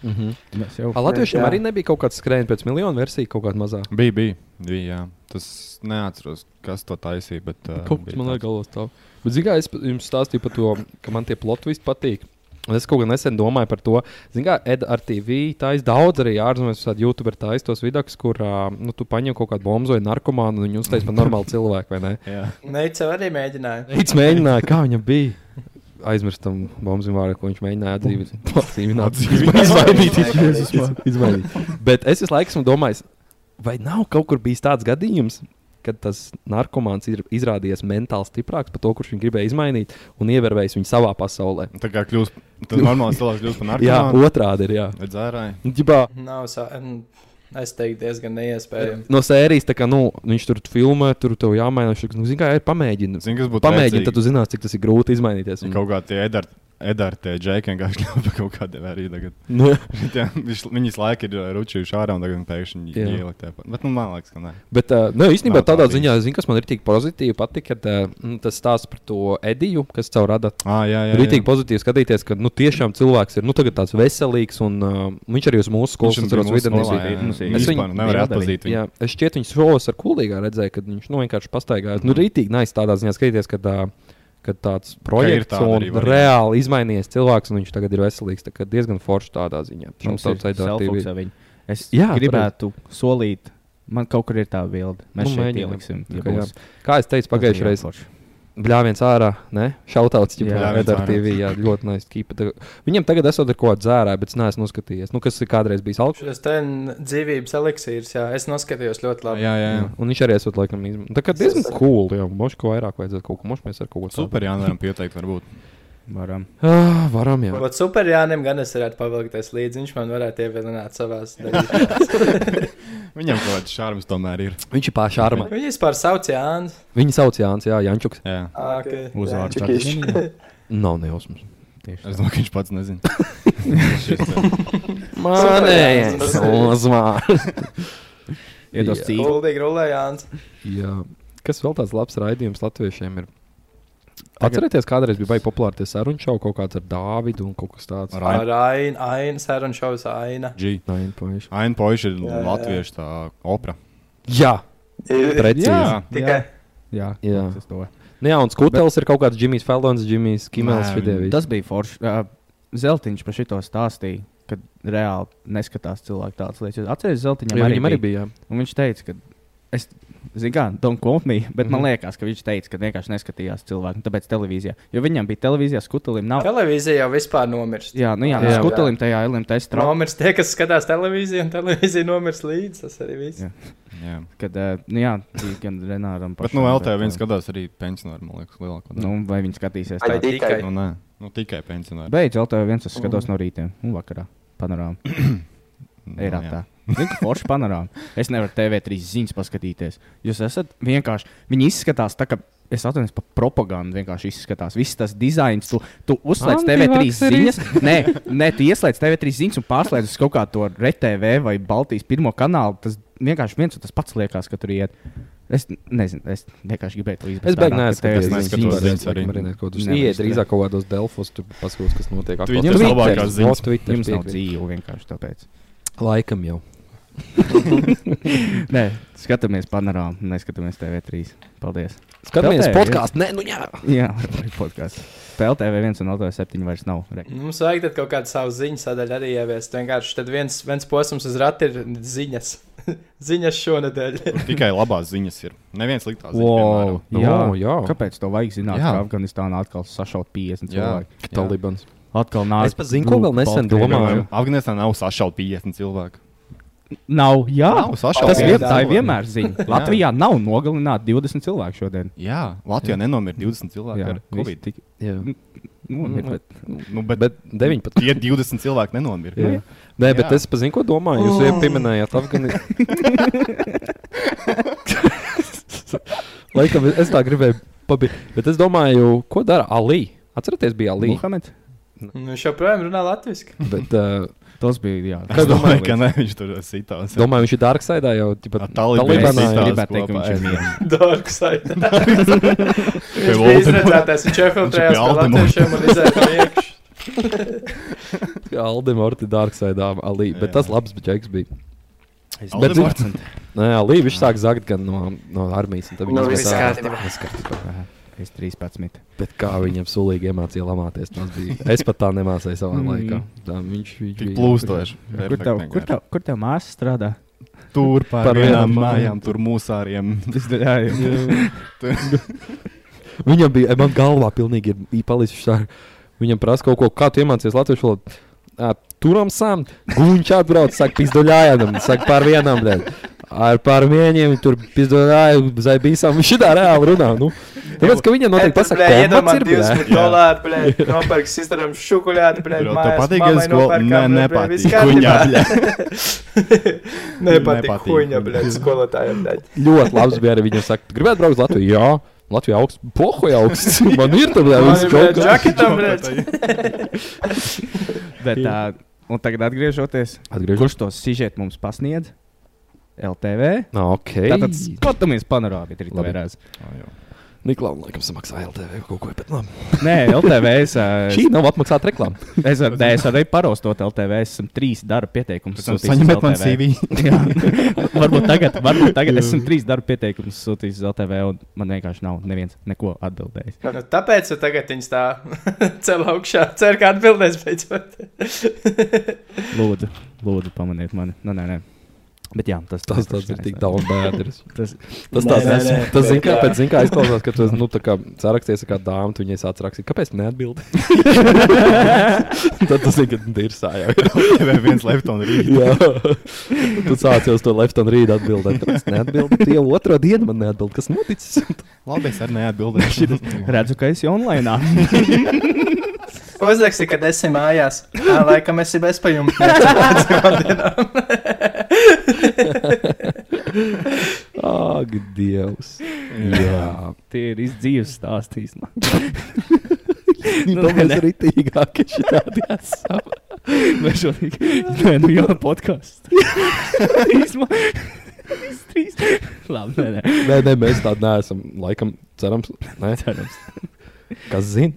Mm -hmm. Mēs jau. A, Latviešiem Jā. arī nebija kaut kāds skrējiens pēc miljonu versiju, kaut kāda mazā. Bija, bija, bija, jā. Tas neatceros, kas to taisīja, bet. ā, Kaut kas bija man tāds. liekas, galvā stāv. Bet, zināmā mērā, es pa- jums stāstīju par to, ka man tie plotvi patīk. Un es kaut kā nesen domāju par to, zināmā mērā, ar TV taisa daudz arī ārzemēs, kāda YouTube taisa tos vidus, kur ā, nu, tu paņem kaut kādu bombu vai narkomānu un viņu uztaisīja par normālu cilvēku, vai ne? Jā. Neica arī mēģināja. Viņš mēģināja, kā viņam bija. Aizmirstam, bombardēm vārdu, ko viņš mēģināja atdzīvot. Izmainīt, izmainīt. Bet es visu laiku esmu domājis, vai nav kaut kur bijis tāds gadījums, kad tas narkomāns ir izrādījies mentāli stiprāks par to, kurš viņu gribēja izmainīt un ievērvējis viņu savā pasaulē. Tā kā kļūst, tad normāls cilvēks kļūst par Jā, narkotiku. otrādi ir. Jā. Dzērāji. Nu, Ģibā, eh, Nav sā... mm, Es teiktu, diezgan neiespējami. no sērijas, tā kā nu, viņš tur filmē, tur tev jāmaina. Viņš nu, zina, kā ir pamēģinājums. Zini, kas būtu Pamēģini, rēcīgi? tad tu zinās, cik tas ir grūti izmainīties. Ja Kaut kā tie edart- edartie džeki vienkārši kļūst par kaut kādiem arī tagad. Nu, Tie- viņš- Viņas laika ir ā, ručījuši ārā un tagad pēkšņi Jā. ielikt. tajā pa- Bet nu, man liekas, ka nē. Bet, uh, nu, īstenībā Nav tā tādā bijis. ziņā, zin, kas man ir tik pozitīvi patika, ka uh, tas stāsts par to Ediju, kas caur rada. Ah, jā, jā, Ir tik jā. pozitīvi skatīties, ka nu, tiešām cilvēks ir nu, tagad tāds veselīgs, un uh, viņš arī uz mūsu skolas Viņš atceros bija mūsu vidurnīcī. skolā, jā, vidurnīcī. jā. Es Vispār viņu- Nedarīju. nevarēju atpazīt viņu. Jā, es šķiet, viņas šovos ar kolīgā redzēju, kad viņš nu, vienkārši pastaigājās. Nu, rītīgi nāc tādā ziņā skatīties, kad, uh, kad tāds projekts tāda un arī varianta. reāli izmainījies cilvēks, un viņš tagad ir veselīgs. Tā kā diezgan forši tādā ziņā. Mums Šautauts ir Edo TV. selfie ar viņu. Es Jā, jā, gribētu solīt, man kaut kur ir tā bilde. Mēs nu, Nu, šeit mēģinām. ieliksim. Tā kā jā. Kā es teicu, pagājušajā reizē Bļāviens ārā, ne? Šautauts, ja Jā. tādā Bļāviens veidā TV, jā, ļoti nice. Keepa. Tā- Viņam tagad esot ar ko dzērā, bet es neesmu noskatījies. Nu, kas ir kādreiz bijis alkohols? Šis te dzīvības eliksīrs, jā, es noskatījos ļoti Jā, labi. jā, jā. Un viņš arī esot laikam izmantojis. Tā kā diezgan cool, jā, moš, ko vairāk vajadzētu kaut ko, moš, mēs ar kaut ko tādu. Super, jā, varam pieteikt, varbūt. Varam. Ah, varam, jā. Bet superjānam gan es varētu pavilkties līdzi, viņš man varētu ievilināt savās darbībās. Viņam kaut kāds šārms tomēr ir. Viņš ir pašā armā. Viņa vispār sauc Jānis. Ah, Viņa sauc Jānis, jā, Jančuks. Jā. Uzvārds Uzvārds. tāds vienīgais. Nav nejausmas. Es Tieši tā. domāju, ka viņš pats nezina. Manējais Jānis, tas ir. uzvārds. Iedos Jā. cīņu. Guldīgi rulē Jānis. Jā. Kas vēl tāds labs raidījums latviešiem ir? Tagad- Atcerieties, kādreiz bija baigi populāri tie sarunu šovi kaut kāds ar Dāvidu un kaut kas tāds. Ar Ar Ainu, Ainu, Sērunu šovs Aina. G. Nine Punch. Aina Poiša ir Jā, jā. latviešu tā opera. Jā, precīzi. Jā. Tikai Jā, Jā. tas to. Nu Jā, un skūpstās ir kaut kāds Jimmy's Falons, Jimmy's Kimels Nē, Fidevis. Tas bija forši. Uh, Zeltiņš par šito stāstīja, kad reāli neskatās cilvēku tādas lietas. Atcerieties, Zeltiņam Jā, arī, viņam arī bija. bija. jā. Un viņš teica, ka es zinu, kā, don't quote me, bet mm Mhm. -hmm. man liekas, ka viņš teica, ka vienkārši neskatījās cilvēku, un tāpēc televīzijā. Jo viņam bija televīzijā skutelim, nav. Televīzija jau vispār nomirst. Jā, nu jā, Jā. jā skutelim tajā LMT strāvā. Nomirst tie, kas skatās televīziju, un televīzija nomirst līdzi. Tas arī viss. Jā. Jā. Kad, eh, nu jā, bija gan Renāram Bet, pašam, nu, LTV eh, viens skatās arī pensionāru, man liekas, lielāko daļu. Nu, vai viņi skatīsies Ai, tādu? tikai. Nu, nē, nu, tikai pensionāru. Beidz, LTV viens es skatos no rīta un vakarā. Panorāma. Nu, Ir tā. Zinu, ka forši panorāma. Es nevaru TV3 ziņas paskatīties. Jūs esat vienkārši. Viņi izskatās tā, ka. Es atvainojos par propagandu. Vienkārši izskatās. Viss tas dizains, tu, tu uzslēdz TV3 Antivakseris. ziņas. Nē, nē, tu ieslēdz TV3 ziņas un pārslēdz uz kaut kādu to RTV vai Baltijas pirmo kanālu. Tas vienkārši viens un tas pats liekas, ka tur iet. Es nezinu, es vienkārši gribēju to izdarīt. Es beigās neskatos. Es neskatos ziņas arī. Nevis, Iet drīzāk kaut kādos Delfos, tur paskatās, kas notiek. Tu Aktuāli- viņiem Twitter, labākās ziņas. no Twitter Jums nav tiek- dzīve vienkārši tāpēc. Laikam jau. Nē, skatāmies panorāmu, neskatāmies TV3. Paldies. Skatāmies Tāpēc, podkāstu. Nē, nu jā. Jā, podkāsts. PLTV1 un LTV7 vairs nav. Re. Nu, Mums vajag tad kaut kādu savu ziņu sadaļu arī ieviest. Vienkārši tad viens, viens posms uz rati ir ziņas. ziņas šonadēļ. Tur Tikai labās ziņas ir. Neviens sliktās Wow. ziņas. Nu, jā. Kāpēc to vajag zināt? Oh. Jā. Jā. Ka Afganistānā atkal sašaut 50 Jā. cilvēku. Jā. Talibans. Atkal nāk. Es pat zinu, ko vēl nesen domāju. Afganistānā nav sašauta 50 cilvēku. Nav, jā. Nav sašauta Tas vien, 50 tā ir cilvēku. vienmēr ziņa. Latvijā nav nogalināti 20 cilvēki šodien. Jā, Latvijā nenomira 20 cilvēki Jā, ar covid. tik. Jā. Nu, Nu, ir, bet, Nu, bet, bet Bet 19. tie 20 cilvēki nenomira. Jā. Nē, bet Jā. Oh. es zinu, ko domāju. Jūs jau pieminējāt Afganistānu. Laikam es- es tā gribēju pabeigt. Bet es domāju, ko dara Ali. Atcerieties, bija Ali. Muhamed, Nu, Viņš joprojām runā latviešu. Bet, uh, tas bija, jā. Es domāju, ka ne, viņš tur sitās. domāju, viņš ir Darksaidā jau tādā Ar Talibanu Es Libanā ir. gribētu teikt, ka viņš ir mierā. Darkseid. Pie Viņš bija Voldemorta. izredzētais. Viņš pie iefiltrējās pie Voldemorta. latviešiem un izredzēja priekš. Aldemorti Darksaidā Ali. Bet Jā. tas labs bija Džeks. Bija. Bet, Bet- Nē, Ali viņš sāk zagt gan no, no armijas. un tad Nu, viņš viss izmetā- kārtībā. Viss kārtībā. Es 13. Bet kā viņam sulīgi iemācīja lamāties, tas bija. Es pat tā nemācīju savā Mm. laikā. Tā, viņš viņš tik bija plūstoši. Kur tev, kur, tev, kur tev māsa strādā? Tur par Par vienām vienām mājām, tur mūsāriem. Viņam bija, man galvā pilnīgi ir palicis šādi. Viņam prasa kaut ko, kā tu iemācies latviešu valodu. Ā, Turam sam, guņš atbrauc, saka, pizdoļājam, saka, par vienam, ne. Ar pārmaiņiem tur pizdoļāju, zaibīsām, viņš šitā reāli runā, nu. Tāpēc, ka viņam noteikti pasaka, Blē, ka iedomā komats ir, blē. 20 dolāri, blē, nopērk sisteram šukuļāti, blē, Bro, tev mājās. patīk, mammai es skolu nopērkām, ne, blē, blē, nepatīk. viss kārtībā. Kuņā, Nepatīk Nepatīk. kuņa, blē, skolotājiem, blē. Ļoti labs bija arī viņam saka, tu gribētu braukt uz Latviju? Jā, Latvija augsts, pohoj augsts, man ir tā, blē, viss kaut kā. Džaketam, blē. Bet, tā, un tagad atgriežoties, Atgriežos. kurš to sižetu mums pasniedz? LTV. Nā, ok. Tātad skatāmies panorāmu, ir Labi. tvērās. Niklaun laikam samaksā LTV kaut ko, bet labi. Nē, LTV es, ā, Šī nav apmaksāta reklāma. es, ar, nē, es arī parostot LTV, es esmu trīs darba pieteikumus. Pēc tam sūtījis uz saņemiet man LTV. CV. Jā. varbūt tagad, varbūt tagad esmu trīs darba pieteikumus sūtījis uz LTV, un man vienkārši nav neviens neko atbildējis. Nu, tāpēc tu tagad viņš tā cel augšā. Ceru, ka atbildēs beidzot. Lūdzu, lūdzu pamaniet mani. Nu, nē, nē. Bet jā, tas, Tas tāds ir tik daudz bēdas. Tas- tas Nē, tāds nē, es- nē, tas zin, bet kā, tā. pēc zin, kā izklausās, ka tu esi, nu, tā kā sarakstījies ar kādu dāmu, tu viņai sāc rakstīt, kāpēc neatbildi? Tad tas ir, kad ir sājā. Vai viens Lepton rīt. Jā, tu sāc jau uz to left un rīdu atbildēt. Kāpēc neatbildi? Tu jau otro dienu man neatbildi, kas noticis? Labi, es arī neatbildēšu. Redzu, ka esi online. Uzraksti, kad esi mājās. Tā laikam esi bezpajumtnieks. Ak, Dievs. Jā. Tie ir izdzīves stāstījis. Nu, Tomēr ir ritīgāk, ka šitādi esam. Vai šodien? Nē, nu jau podkāsts. Trīs. ma- Trīs, trīs. Labi, nē, nē. Nē, nē, mēs tādi neesam. Laikam, cerams, nē. Cerams. Kas zina?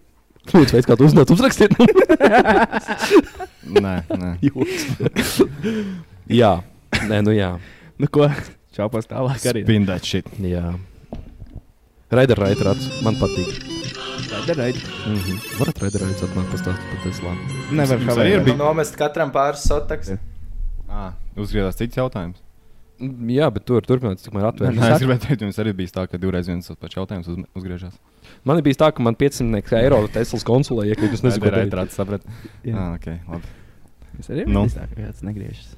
Lūdzu, veids, kā tu uzzināt, uzrakstiet mums Nē, nē. jūtas. jā, nē, nu jā. Nu ko, čaupos tālāk arī. Spin that shit. jā. Raidar, raidar, man patīk. Raideraids. Mhm. Varat redzēt, atnāk pastāstīt par Tesla. Nevar Jums arī ir kavēt. bij- Nomest katram pāris sotaks. Ah, uzgriezās cits jautājums. Mm, Jā, bet tur turpināt, tikmēr atvērt. Nē, es gribēju teikt, jums arī bija tā, ka divreiz viens tas pats jautājums uz, uzgriežās. Man bija tā, ka man 500 eiro Teslas konsulē iekļūt. Es nezinu, kāda ir tā. redzēt, sapratu. Jā, ok, labi. Es arī Nu. esmu tāds, kāds negriežas.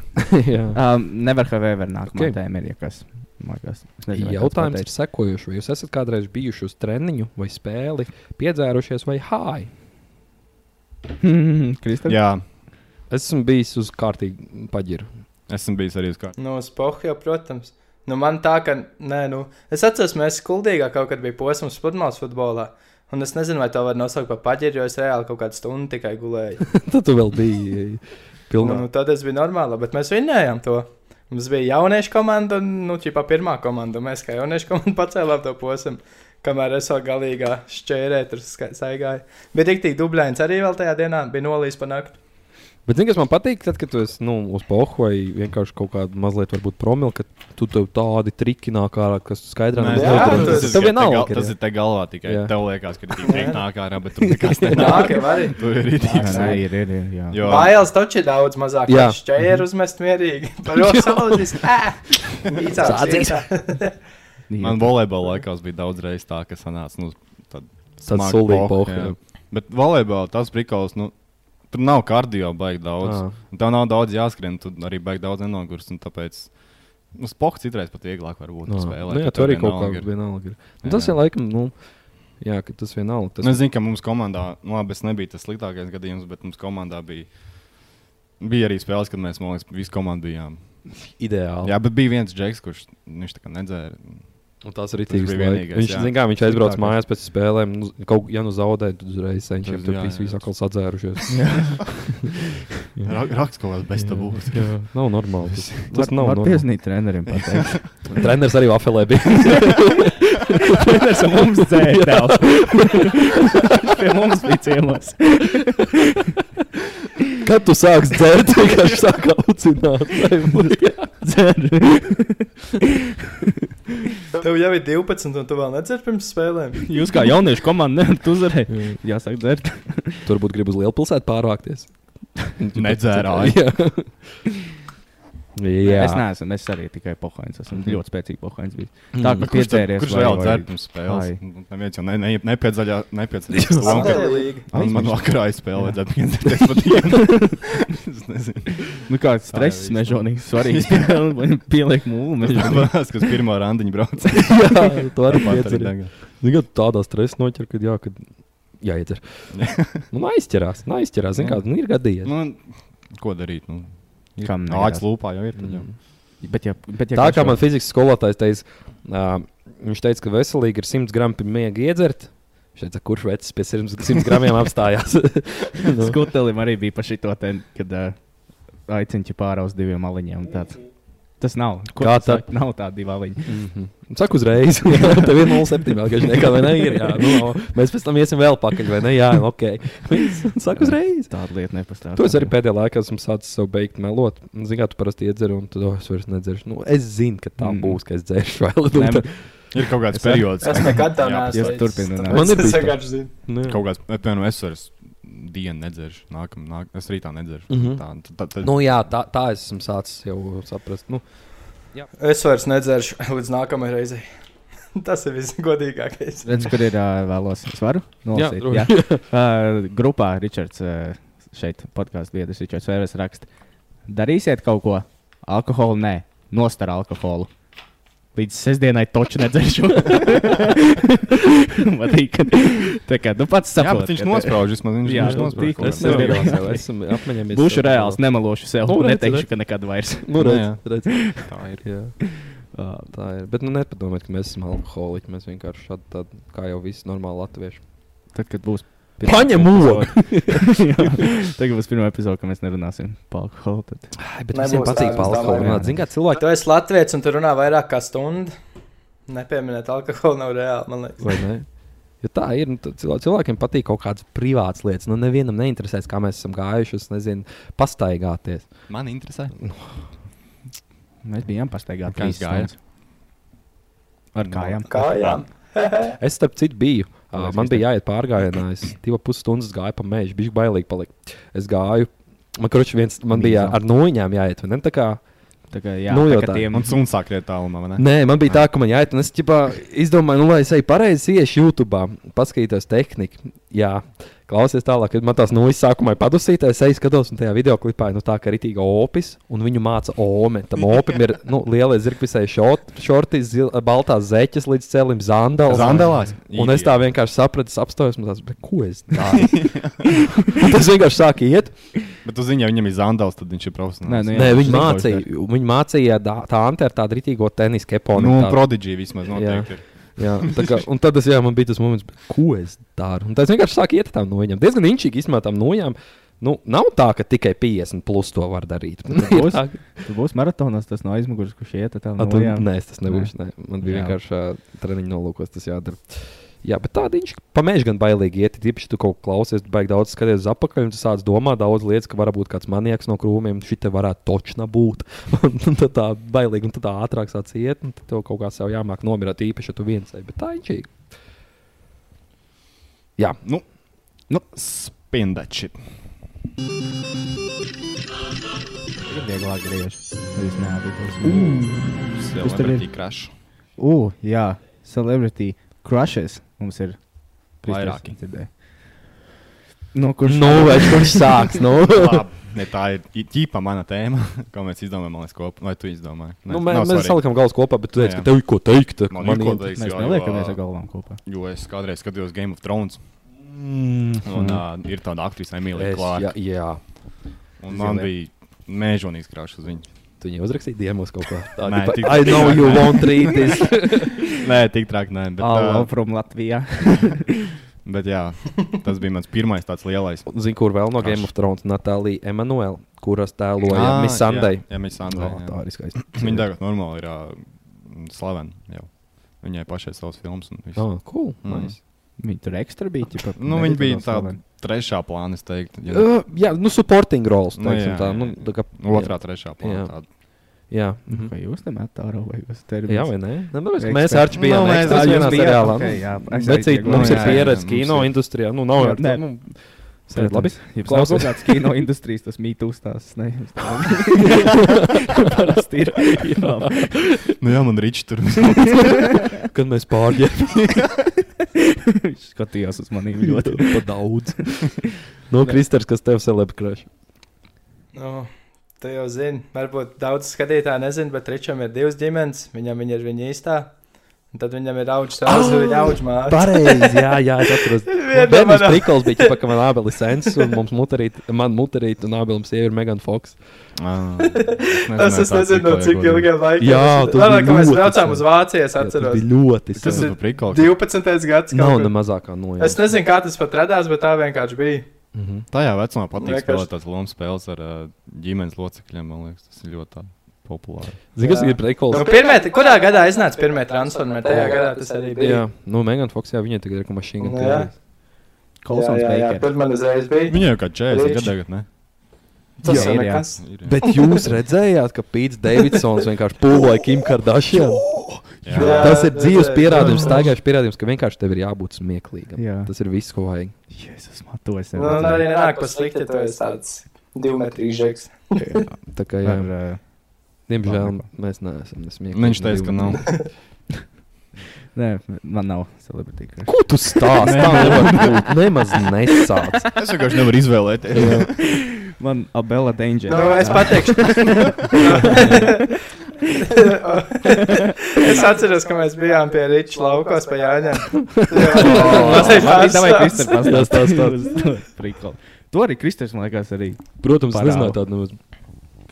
Jā. Um, nevar kavēt, var nākt. Ok. Okay. Tēma ir, ja kas. man liekas. Es nezinu, vai kāds Jautājums ir pateica. sekojošs. Vai jūs esat kādreiz bijuši uz treniņu vai spēli, piedzērušies vai hāji? Kristofers. Jā, Es esmu bijis uz kārtīgi paģiru. esmu bijis arī uz kārtas. Nu, uz pohja, protams. Nu, man tā, ka, nē, nu, es atceros, mēs skuldīgā kaut kad bija posms pludmales futbolā. Un es nezinu, vai to var nosaukt par paģiru, jo es reāli kaut kādu stundu tikai gulēju. Tad tu vēl biji pilnā. nu, tad es biju normāla, bet mēs vinnējām to. Mums bija jauniešu komanda, un, nu, ķipā pirmā komanda. un Mēs kā jauniešu komanda pacēlām to posmu, kamēr es vēl galīgā šķērē tur ska- staigāju. Bija tik tik dubļains arī vēl tajā dienā, bija nolīs pa nakti. Bet, zini, kas man patīk, tad, kad tu esi nu, uz pohu vai vienkārši kaut kāda mazliet promilu, ka tu tev tādi triki nāk ārā, kas skaidrā Nē, jā, neizlauž. tas- Tas- tas tev ir vienalga. te gal- Tas ka- ir te galvā tikai. Jā. Tev liekas, ka tik tik nāk ārā, bet tur nekas Nāk, nenāk. jau arī. Tur ir Nē, rītīgi. ir, ir, ir. Jā. Jo, Bailes taču ir daudz mazāk. Jā. Jā, šķēri uzmest mierīgi. Par to salūzīs. Sādzīs. man volejbola laikos bija daudz reizes tā, ka sanāca. Nu, tad Tad smagi solīgi pohu, pohu, jā. jā. Bet volejbola tas prikals, nu, tur nav kardio baigi daudz. Ā. Un Tev nav daudz jāskrien, tu arī baigi daudz nenogurs. un Tāpēc nu, spoks citreiz pat vieglāk var būt. Nā, spēlēt, nu, jā, jo tur tev arī kaut vienalga kā ir. vienalga. ir. Nu, Jā. Tas ir laikam, nu, jā, ka tas vienalga. Tas... Nu, es zinu, ka mums komandā, nu, labi, es nebiju tas sliktākais gadījums, bet mums komandā bija, bija arī spēles, kad mēs, man liekas, visu komandu bijām. Ideāli. Jā, bet bija viens džeks, kurš viņš tā kā nedzēra. Un tas arī Tas bija bija vienīgais. vienīgais, Viņš, jā. zin, kā, viņš aizbrauca Sliktākais. mājās pēc spēlēm. Nu, z- kaut, ja nu zaudēja, tad uzreiz Tas- senčiem tur jā, bija jā. visi atkal sadzērušies. Ra- Raksts kaut kāds bez tabūs. Jā, nav normāli. Tas, tas Var- nav Var normāli. piesnīt treneriem pateikt. Treneris arī afelē bija. Treneris ar mums dzērdās. Pie mums bija ciemos. Kad tu sāc dzert, vienkārši sāk aucināt. Tev jau ir 12, un tu vēl nedzirdi pirms spēlēm. Jūs kā jauniešu komanda nevarat uzvarēt. Jāsaka, dzert. Turbūt grib uz lielpilsētu pārvākties. Nedzērāji. Jā. Jā. Es neesmu, es arī tikai pohains. Esmu ļoti spēcīgs pohains. bijis. Tā kā Kurš tad- piedzēries. kurš vai- vēl vai- dzēra pirms spēles? Ai. Nu, Neviens jau ne, ne, nepiedzaļā, nepiedzaļā. to, ka- Sadalīgi. Un Man vakarā aizspēlē, tad piedzēries pat dienu. Es nezinu. Nu, kāds stress Tā jau mežonīgs, svarīgs. Pieliek mūlu mežonīgu. Tāpēc, kas pirmā randiņa brauc. Jā, tu arī Tāpat arī piedzer. tagad. Zini, kad tu tādā stresa noķer, kad jā, kad jāiedzer. Nu, aizķerās, nu, aizķerās. Zini, Jā. kā nu, ir gadījies. Nu, ko darīt? Nu, ir- Kam Mm. negribas? Āķis lūpā jau ir. tad jau. Bet, ja, bet, ja Tā kāds kā vēl- man fizikas skolotājs teica, uh, viņš teica, ka veselīgi ir 100 gramu pirms miega iedzert. Viņš teica, kurš vecs pie 100 gramiem apstājās. Nu. Skutelim arī bija par šito te, kad uh, aicinu pārā uz diviem aliņiem. un Tāds. Tas nav. Ko Kā tu tad? saki? Nav tāda divi aliņi. Saku uzreiz, jā, tev ir 0,7 vēl kaut kā, vai ne? Ir, jā, nu, mēs pēc tam iesim vēl pakaļ, vai ne? Jā, nu, ok. Saku uzreiz. Tāda lieta nepastāv. To es arī pēdējā laikā esmu sācis sev beigt melot. Zinu, kā tu parasti iedzer, un tad "Oh, es vairs nedzeršu. Nu, es zinu, ka tā Mm. mm. būs, ka es dzeršu vēl. Nu, Nē, tad- Ir kaut kāds Es arī- periods. Es nekad tā Jā, neesmu. jūs turpināt. tāpēc Man ir es bijis tā. vienkārši zinu. nu, jā. Kaut kāds, piemēram, es vairs dienu nedzeršu, nākamā nāk, es rītā nedzeršu. Mm Mhm. -hmm. Tā, tā, tā, Nu, jā, tā, tā es esmu sācis jau saprast. Nu, Es vairs nedzeršu līdz nākamajai reizei. Tas ir visgodīgākais. Redz, kur ir uh, vēlos. Es varu nolasīt. droši. Jā, jā. Uh, grupā Ričards, uh, šeit podkāstu biedrs Ričards Vēres raksta. Darīsiet kaut ko. Alkoholu nē. Nostar alkoholu. Līdz sestdienai toču nedzeršu. Man patīk. ka- Tā kā, nu pats jā, bet saprot. viņš ka- nospraužas, man viņš, Jā, viņš nospraužas. kaut Es es kādā nevaru. nevaru veidā. nevienam. jau esmu apmaņēmies. Būšu reāls, nemelošu sev. Nu, Nu, redz, Neteikšu, redz. ka nekad vairs. Nu, redz, Jā. redz. Tā ir. Jā. Uh, Tā ir. Bet nu, nepadomājiet, ka mēs esam alkoholiķi. Mēs vienkārši šādi tādi, kā jau visi normāli latvieši. tad, kad būs Paņem ūdeni! Tagad būs pirmā epizode, kad mēs nerunāsim par alkoholu. Tad... Ai, bet Nebūs visiem patīk tā, par es alkoholu. domāju. runāt. Zini, kā cilvēki Tu esi latviečs un tu runā vairāk kā stundu. Nepieminēt alkoholu nav reāli, man liekas. Vai ne? Ja tā ir. Nu, tad cilvē- cilvēkiem patīk kaut kādas privātas lietas. Nu, nevienam neinteresēs, kā mēs esam gājuši. Es nezinu, pastaigāties. Man interesē. Mēs bijām pastaigāti. Kā Nu, trīs gāja? stundas. Ar kājām. Kājām. Es starp citu biju Uh, man bija jāiet pārgājienā. Es divas puses stundas gāju pa mēģi, bija bailīgi palikt. Es gāju, man, kurš viens, man bija Mīzo. ar noņēmu jāiet. vai Ne? Tā Kā, Tā kā jā, Nu, tā jau kā tā. tiem Un suns sāk riet tālumā, vai ne? nē, man bija tā, ka man jāiet, un es ķipā, izdomāju, nu, lai es eju pareizi, iešu YouTube, paskatītos tehniku. Jā, klausies tālāk, kad man tās nojas sākumā ir padusītas. Es eju skatos, un tajā video klipā ir nu, tā, ka ir itīga opis, un viņu māca ome. Tam opim ir nu, lielais zirgpisēji šorti, zil, baltās zeķes līdz celim, zandals. Zandalās. Un es tā vienkārši sapratu, es apstājos, man tas bija, ko es daru. Un tas vienkārši sāk iet. Bet tu zini, ja viņam ir zandals, tad viņš ir profesionāls. Nē, nu, Nē, jā, viņi zinu, ko mācīja, es viņi mācīja dā- tā ante ar tādu rītīgo tenisa keponu. Nu, tādu. prodigī vismaz Jā. noteikti. ir. Jā, tā kā, un tad es, jā, man bija tas moments, bet ko es daru. Un tas vienkārši sāk iet tam nojām. Diezgan inčīgi izmēr tam nojām. Nu, nav tā, ka tikai 50 plus to var darīt. Nu, Ir būs? tā, ka- Tu būsi maratonā, tas no aizmugures, kurš iet tā A, no tu, jā. nē, es tas nebūs. Nē. Man bija Jā. vienkārši ā, treniņu nolūkos tas jādara. Jā, bet tāda viņš pamēģina gan bailīgi iet. Tieši tu kaut ko klausies, tu baigi daudz skaties uz apakšu, un tu sāc domāt daudz lietas, ka varbūt kāds manieks no krūmiem šī te varētu točna būt. un tad tā bailīgi, un tad tā ātrāk sāc iet, un tad tev kaut kā sev jāmāk nomirt īpaši, ja tu viens ej. Bet tā ir īņķīgi. Jā, Nu, nu spin that shit. ir vieglāk griežs. Es neesmu Tas tev ir? ir crash. Uh, jā, celebrity crushes mums ir. Vairāki. Dzirdēju. No kurš? nu, vai kurš sāks? Nu? Labi, ne, tā ir i- ķīpa mana tēma, ko mēs izdomājām, man liekas, kopā. Vai tu izdomāji? Nē, Nu, mē, nav mēs svarīgi. salikām galus kopā, bet tu teici, Jā. ka tev ir ko teikt. Man ir ko teikt, Mēs jo, neliekamies jo, ar galvām kopā. Jo es kādreiz skatījos Game of Thrones, un Un, uh, ir tāda aktrise Emīlija Mm. es, jā, Klārka. jā. Un man Zilē. bija mēžonīgs krāšs uz viņu. Tu viņai uzrakstīji diemos kaut ko tādu. Nē, Nē, tik- tikai I know tik- you won't read this. Nē, tik traki, nē. Ah, Bet, Allo uh, from Latvijā. bet jā, tas bija mans pirmais tāds lielais. Zini, kur vēl no Kaš. Game of Thrones Natālija Emanuela, kuras tēloja Miss Sunday. Ah, Jā, jā Miss Sunday. Oh, tā Oh, ir skaista. Viņa tagad normāli ir uh, slavena. jau. Viņai pašai savs films. un viss. Oh, cool. Mm. Nice. Viņa tur ekstra bija. Ķipa, Nu, viņa bija tāda trešā plāna, es teiktu. Jā. Ja, Uh, jā, nu, supporting roles. Nu, Teiksim, jā, tā, jā, nu, tā kā, Otrā, trešā plāna. Jā. tāda. Jā, Mhm. mhm. Vai jūs nemet tā raugājos? jā vai nē? Nē, tāpēc, ka mēs Ekspert. ar Arču bijām Nu, mēs- ekstras ā, jūs vienā bijāt, seriālā. ok, jā. Es Bet aizēju, cīt, mums jā, ir jā, pieredze jā, kino mums ir. industrijā. Nu, nav jau Nē. tā. nu, Sēd labi. Ja tas Klausies. ir kāds kino industrijas, tas mītūs tās. Ne, jums tā parasti ir. Jā. Nu, jā, man rīčs tur. Kad mēs pārģērbām Viņš skatījās uz mani ļoti. pa daudz. Nu, Kristers, kas tev celebrē crush? Nu, tu jau zini, varbūt daudz skatītāju nezina, bet Ričam ir divas ģimenes. Viņam viņa ir viņa īstā. Un tad viņam ir augs tāds, oh! viņa augs mākslinieks. Pareizi, jā, jā, es atceros. Bērnam strikls bija, ķipa, ka man abelis sens un mums mutarīt, man mutarīt un abelim sieva ir Megan Fox. Tas Tas es nezinu, no cik ilgiem laikiem. Jā, tas tas bija. bija Kad mēs ļoti sen. braucām uz Vāciju, Jā, es tas atceros. bija ļoti Tas sens. ir prikals. 12. gads. Nav kaut ne kur. mazākā nojausma. Es nezinu, kā tas pat radās, bet tā vienkārši bija. Mhm. Tajā vecumā patīk Vienkārši- spēlēt tās lomas spēles ar ā, ģimenes locekļiem. Man liekas, tas ir ļoti tā populāri. Zini, kas Jā. ir Nu, prikls? pirmie, kurā gadā iznāca pirmie transformētāji? Tajā gadā tas arī bija. Jā, nu, Megan Fox, jā, viņai tagad ir kā mašīna. Nu, gan jā. teorijas. Kolsons Baker. Tur man uzreiz bija. Viņai jau kā 40 Rich. gadu tagad, ne? Tas Jā, ir ir, jā. nekas. Ir, jā. Bet jūs redzējāt, ka Pīts Davidsons vienkārši pūlēja Kim Kardashian? Jā. Jā. Tas ir dzīves redzēju, pierādījums, staigājušs pierādījums, ka vienkārši tev ir jābūt smieklīgam. Jā. Tas ir viss, ko vajag. Jēzus, man to es Nu, un nevaru. arī nenāk pa slikti, ja tu esi tāds divmetrīgs žeks. Tā kā, jā, diemžēl mēs neesam ne smieklīgi. Viņš ne teica, ka nav. Nē, man nav celebrity crush. Ko tu stāsti? Tā nevar būt. Nemaz nesāc. Es vienkārši nevaru izvēlēties. Man Abela Danger. Nu, es pateikšu. es atceros, ka mēs bijām pie Rīča laukos pa Jāņiem. Oh, Tas ir pārsteigums. tas tas tas. Prikol. To arī Kristers, man liekas, arī. Protams, Parādu. nezināju tādu nu, nemaz.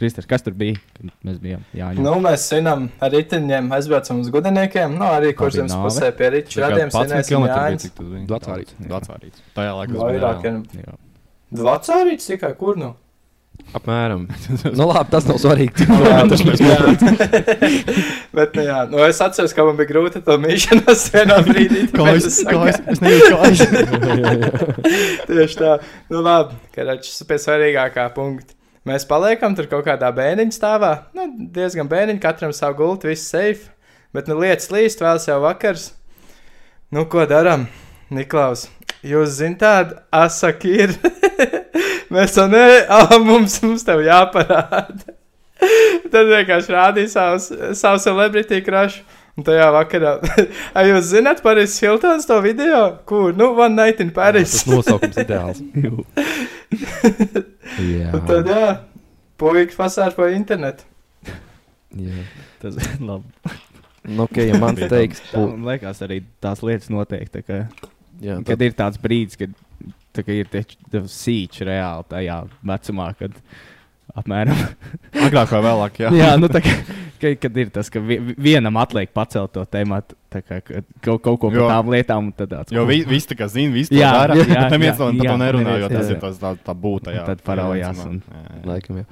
Kristers, kas tur bija? Kad Mēs bijām. Jā, Nu, mēs svinam ar riteņiem, aizbraucam uz gudiniekiem, nu, arī Tā bija kurzems nāve. pusē pie Rīča radiem svinēsim Jāņus. Vecārīts. Vecārīts. Tajā laikā tas bija, Vairāk, jā. ja jā. Vacārīts tikai, kur nu? Apmēram. nu, labi, tas nav svarīgi. Jā, Bet, nu, jā, nu, es atceros, ka man bija grūti to mīšanos vienā brīdī. tāpēc es saku- Es nezinu, kā es. Tieši tā. Nu, labi, karačs pie svarīgākā punkta. Mēs paliekam tur kaut kādā bēniņa stāvā. Nu, diezgan bēniņa, katram savu gultu, viss safe. Bet, nu, lietas līst, vēl sev vakars. Nu, ko darām? Niklaus, jūs zināt, tāda asaka ir. Mēs to nevienam, mums, mums tev jāparāda. Tad vienkārši rādīja savus- savu celebrity crush. Un tajā vakarā, ai, jūs zināt, Paris Hiltons to video, kur, nu, One Night in Paris. Tas nosaukums ideāls. jā, Un Nu Tad, jā, puikas pasāž pa internetu. jā. Tas labi. Nu, okay, ja man teiks, Tā, man liekas, arī tās lietas noteikti. Ka, jā, tad... tad, Kad ir tāds brīdis, kad tā, ka ir tie sīči reāli tajā vecumā, kad apmēram Agrāk vai vēlāk, jā. Jā, nu, tā, kā, ka, kad ir tas, ka vi- vienam atliek pacelt to tēmu, kaut, kaut ko Jo. par tām lietām. un Tad, tāds, "Oh, Jo "Ko?" vi, visi tā kā zina, visi to Jā, dara. jā, bet Neviens jā, no viņiem jā, to nerunā, neviens, jo tas jā, ir jā. tas tā, tā būtā. jā. Un tad paraujās un- Jā, jā, jā. laikam, jā.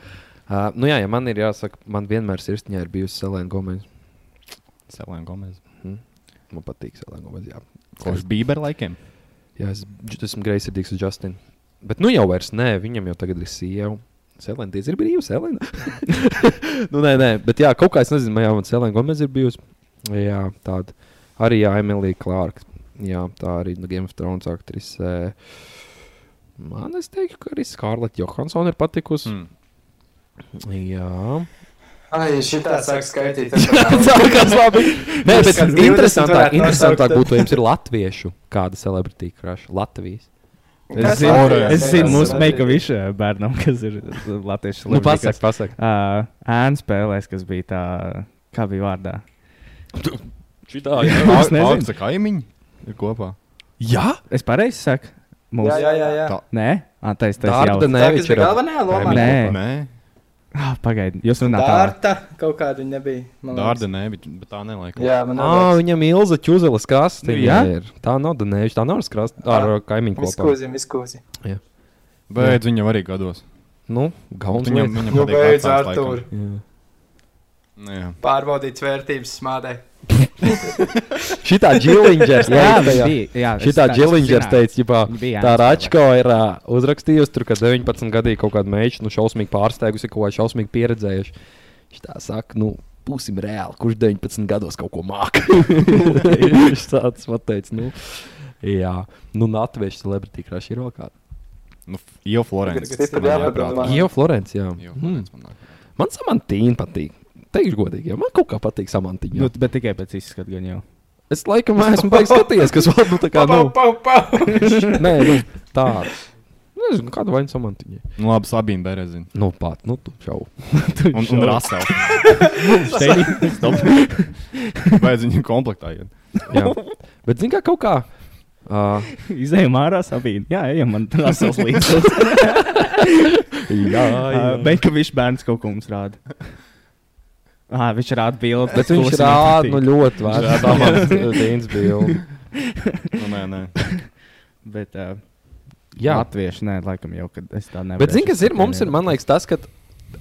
Uh, nu, jā, ja man ir jāsaka, man vienmēr sirsniņā ir bijusi Selēna Gomez. Selēna Gomez. Man patīk Selēna Gomez. Jā, Kopš Bībera laikiem. jā es dž- esmu greizsirdīgs uz Justinu. Bet nu jau vairs nē, viņam jau tagad ir sieva. Selēna, diez ir brīva, Selēna. nu, nē, nē, bet jā, kaut kā es nezinu, jā, man Selēna Gomez ir bijusi. Jā, tāda. Arī jā, Emilija Klārka. Jā, tā arī no Game of Thrones aktrise. Man es teiktu, ka arī Skarleta Johansona ir patikusi. Mm. Mm. Jā. Ai, šitā sāk skaitīt. Sākās labi. Nē, bet Viskas 20 interesantāk, varētu interesantāk nosaukt. būtu, ja jums ir latviešu kāda celebrity crush. Latvijas. Es zinu, es zinu mūsu meikavišā bērnam, kas ir latviešu Nu, celebrity, pasak, pasak. Ā, Ēnu spēlēs, kas bija tā, kā bija vārdā. Šitā, Es nezinu. Ar kaimiņu ir kopā. jā. Es pareizi saku, mūsu. Jā, jā, jā. jā. Nē, ah, tā ir tā Dārta līnija. Tā, kas Neviča. bija galvenajā lomā? Nē. Nē, Pagaidiet, Ah, jūs runājat Dārta kaut kāda viņa nebija. man liekas. Dārda nē, bet bet tā nelaika. Jā, man Ā, viņam Ilza Čuzelas kastiņa Jā? ir. Tā nav Danēža, tā nav ar skrasti, ar Jā. uh, kaimiņu kopā. Viskūzi, viskūzi. Bet viņam arī gados. Nu, gauns Viņam viņam. viņam Nu, patīk beidz, vecās laikam. Artur. Jā. Nu, Jā. Pārbaudīt vērtības smādē. Šitā Džilingers Jā, viņš teica, bija, jā, es šitā tā- es Džilingers zināju. teica, ģipā, Viņa bija tā Jānis Račko ir uh, uzrakstījusi tur, ka 19 gadīgi kaut kāda meitene nu, šausmīgi pārsteigusi, ko viņa šausmīgi pieredzējuši. Viņš tā saka, nu, būsim reāli, kurš 19 gados kaut ko māca. Viņš tāds man teica, nu, jā, nu, Latviešu celebrity crush ir vēl kāda. Nu, Io Florence. Tagad man stipri nāk jāpadomā. prātā. Jo Florence, jā. Io Mm. Florence man nāk. Man samantīna patīk. Teikšu godīgi, jā. man kaut kā patīk samantīna. Nu, Nu, bet tikai pēc izskata, gan jau. es laikam esmu beigas skatījies, kas vēl nu, tā kā nav. pau, pau. Nē, nu, tā. Nezinu, kādu vainu samantīņai. Nu, labi, Sabīna Berezina. Nu, pat, nu, tu čau. Un, un Rasela. Vajadz viņu komplektā. iet. Jā. Bet, zināmā mērā, kaut kā. Uh, Izejām ārā, abiem. Jā, ejam, man tas ir līdzīgs. jā, Ah, Beigās bērns kaut ko mums rāda. Ah, viņš rāda bildi. Bet viņš kuras rāda viņam nu, patīk. ļoti vērā. rāda. Tā ir Dienas bilde. Nu, nē, nē. Bet, uh, jā, Jā, latvieši, nē, laikam jau, kad es tā nevaru. bet zini, kas ir? Mums ir, man liekas, tas, ka.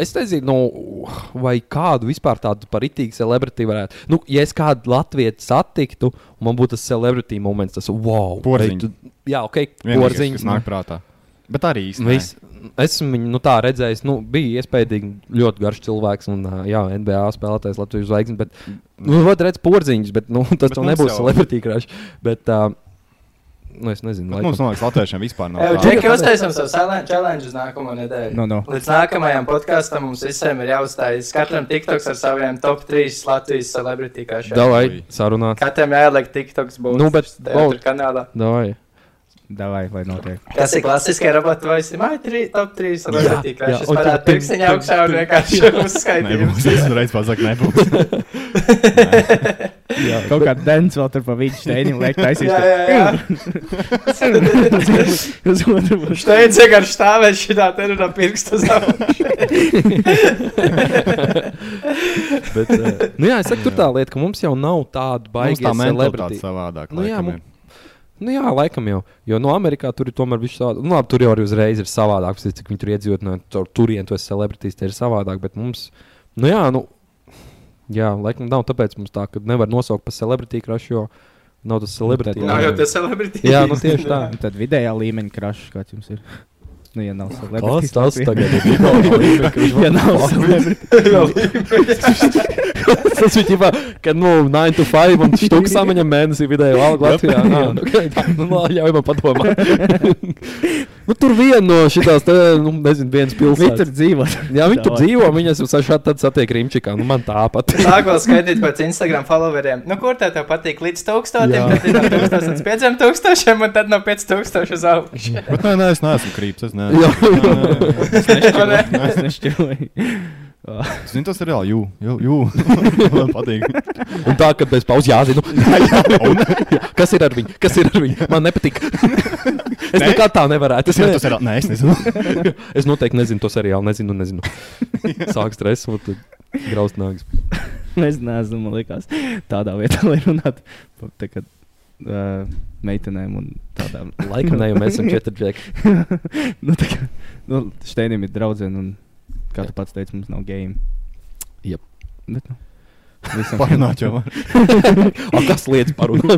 Es nezinu, nu, vai kādu vispār tādu paritīgu celebritīvu varētu. Nu, ja es kādu latviešu satiktu, un man būtu tas celebritīvu moments, tas wow. Porziņš. vai tu- Jā, ok, Vienīgais, porziņš. kas nāk prātā. Bet arī īsti. Vis, esmu viņu nu, tā redzējis. Nu, bija iespējams, ļoti garš cilvēks. Un, ā, jā, NBA spēlētājs, Latvijas zvaigznes. Bet, nu, vot redz, porziņš, bet nu, tas Mm. Bet bet mums nebūs jau- celebrity crash. Bet, uh, nu, es nezinu, Bet laikam. mums, man liekas, latviešiem vispār nav. Ej, tā. Džeki, uztaisam savu salen- challenge uz nākamo nedēļu. Nu, nu. Līdz nākamajam podkāstam mums visiem ir jāuzstājas katram TikToks ar saviem top 3 Latvijas celebrity kašiem. Davai, sarunāt. Katram jāieliek TikToks būs. Nu, bet tev baud- kanālā. Davai. Davai, lai notiek. Kas ir klasiskie roboti vai simai 3 top 3 celebrity jā, kašiem? un Parāda tad- pirkstiņa augšā un vienkārši uzskaitījums. Nebūs. Es reiz pasaku, nebūs. Jā, kaut kā dēns vēl tur pa vidu steinim liek taisīt. Jā, jā, jā. Uz otru pusi. Šteidz vienkārši stāvēt šitā te un ar pirkstu savu. Bet, uh, nu, jā, es saku, tur tā lieta, ka mums jau nav tāda Mums baigta tā celebrity. mentalitāte savādāk. Nu, jā, laikam mums- ir. Nu, jā, laikam jau. Jo no Amerikā tur ir tomēr viss savādāk. Nu, labi, tur jau arī uzreiz ir savādāk. Tas, cik viņi tur iedzīvot, no tur, turienes tos celebrities, tie ir savādāk. Bet mums, nu, jā, nu, jā, laikam nav. Tāpēc mums tā, ka nevar nosaukt par celebrity crush, jo nav tas celebrity. Nu, tad- Nav jau tie celebrity. jā, nu tieši tā. Un tad vidējā līmeņa krašs, kāds jums ir. Nu, ja nav celebrity. Tas tas tagad ir tikai Ja nav celebrity. tas ir ģipā, ka, nu, 9 to 5 un štuk samaņem mēnesī vidēju algu Latvijā. Nā, nu, okay, nu, lā, ļauj man padomāt. nu, tur vien no šitās, te, nu, nezinu, viens Viņi tur pilsētas. dzīvo. Jā, viņi tur dzīvo, viņas jau šādi tad satiek Rimčikā, nu, man tāpat. Sāk vēl skaitīt pēc Instagram followeriem. Nu, kur tev, tev patīk līdz tūkstošiem, Jā. tad ir no tūkstošiem līdz pieciem tūkstošiem, un tad no pieci tūkstoši uz augšu. Bet nē, nē, es neesmu krīps. Es Jā. neesmu. Nē, nē, nē. Es nešķiroju. Zini, tas ir reāli. Jū, jū, jū. Man patīk. Un tā, kad bez pauzes jāzina, nu, jā, jā. Un, jā. kas ir ar viņu, kas ir ar viņu. Man nepatīk. es Nē? nekad tā nevarētu. Es, Tas ir ne, tas, nē, es nezinu. es noteikti nezinu to seriālu, nezinu, nezinu. Sāk stress un tad graust nāks. Es nezinu, man liekas, tādā vietā, lai runātu par tā kā, uh, meitenēm un tādām. Laikam ne, jo mēs esam četri džeki. nu, tā kā nu, Steinim ir draudzene, un kā tu pats teici, mums nav game. Jep. Bet, nu, visam Parunāt jau. var. O, kas lietas parunā?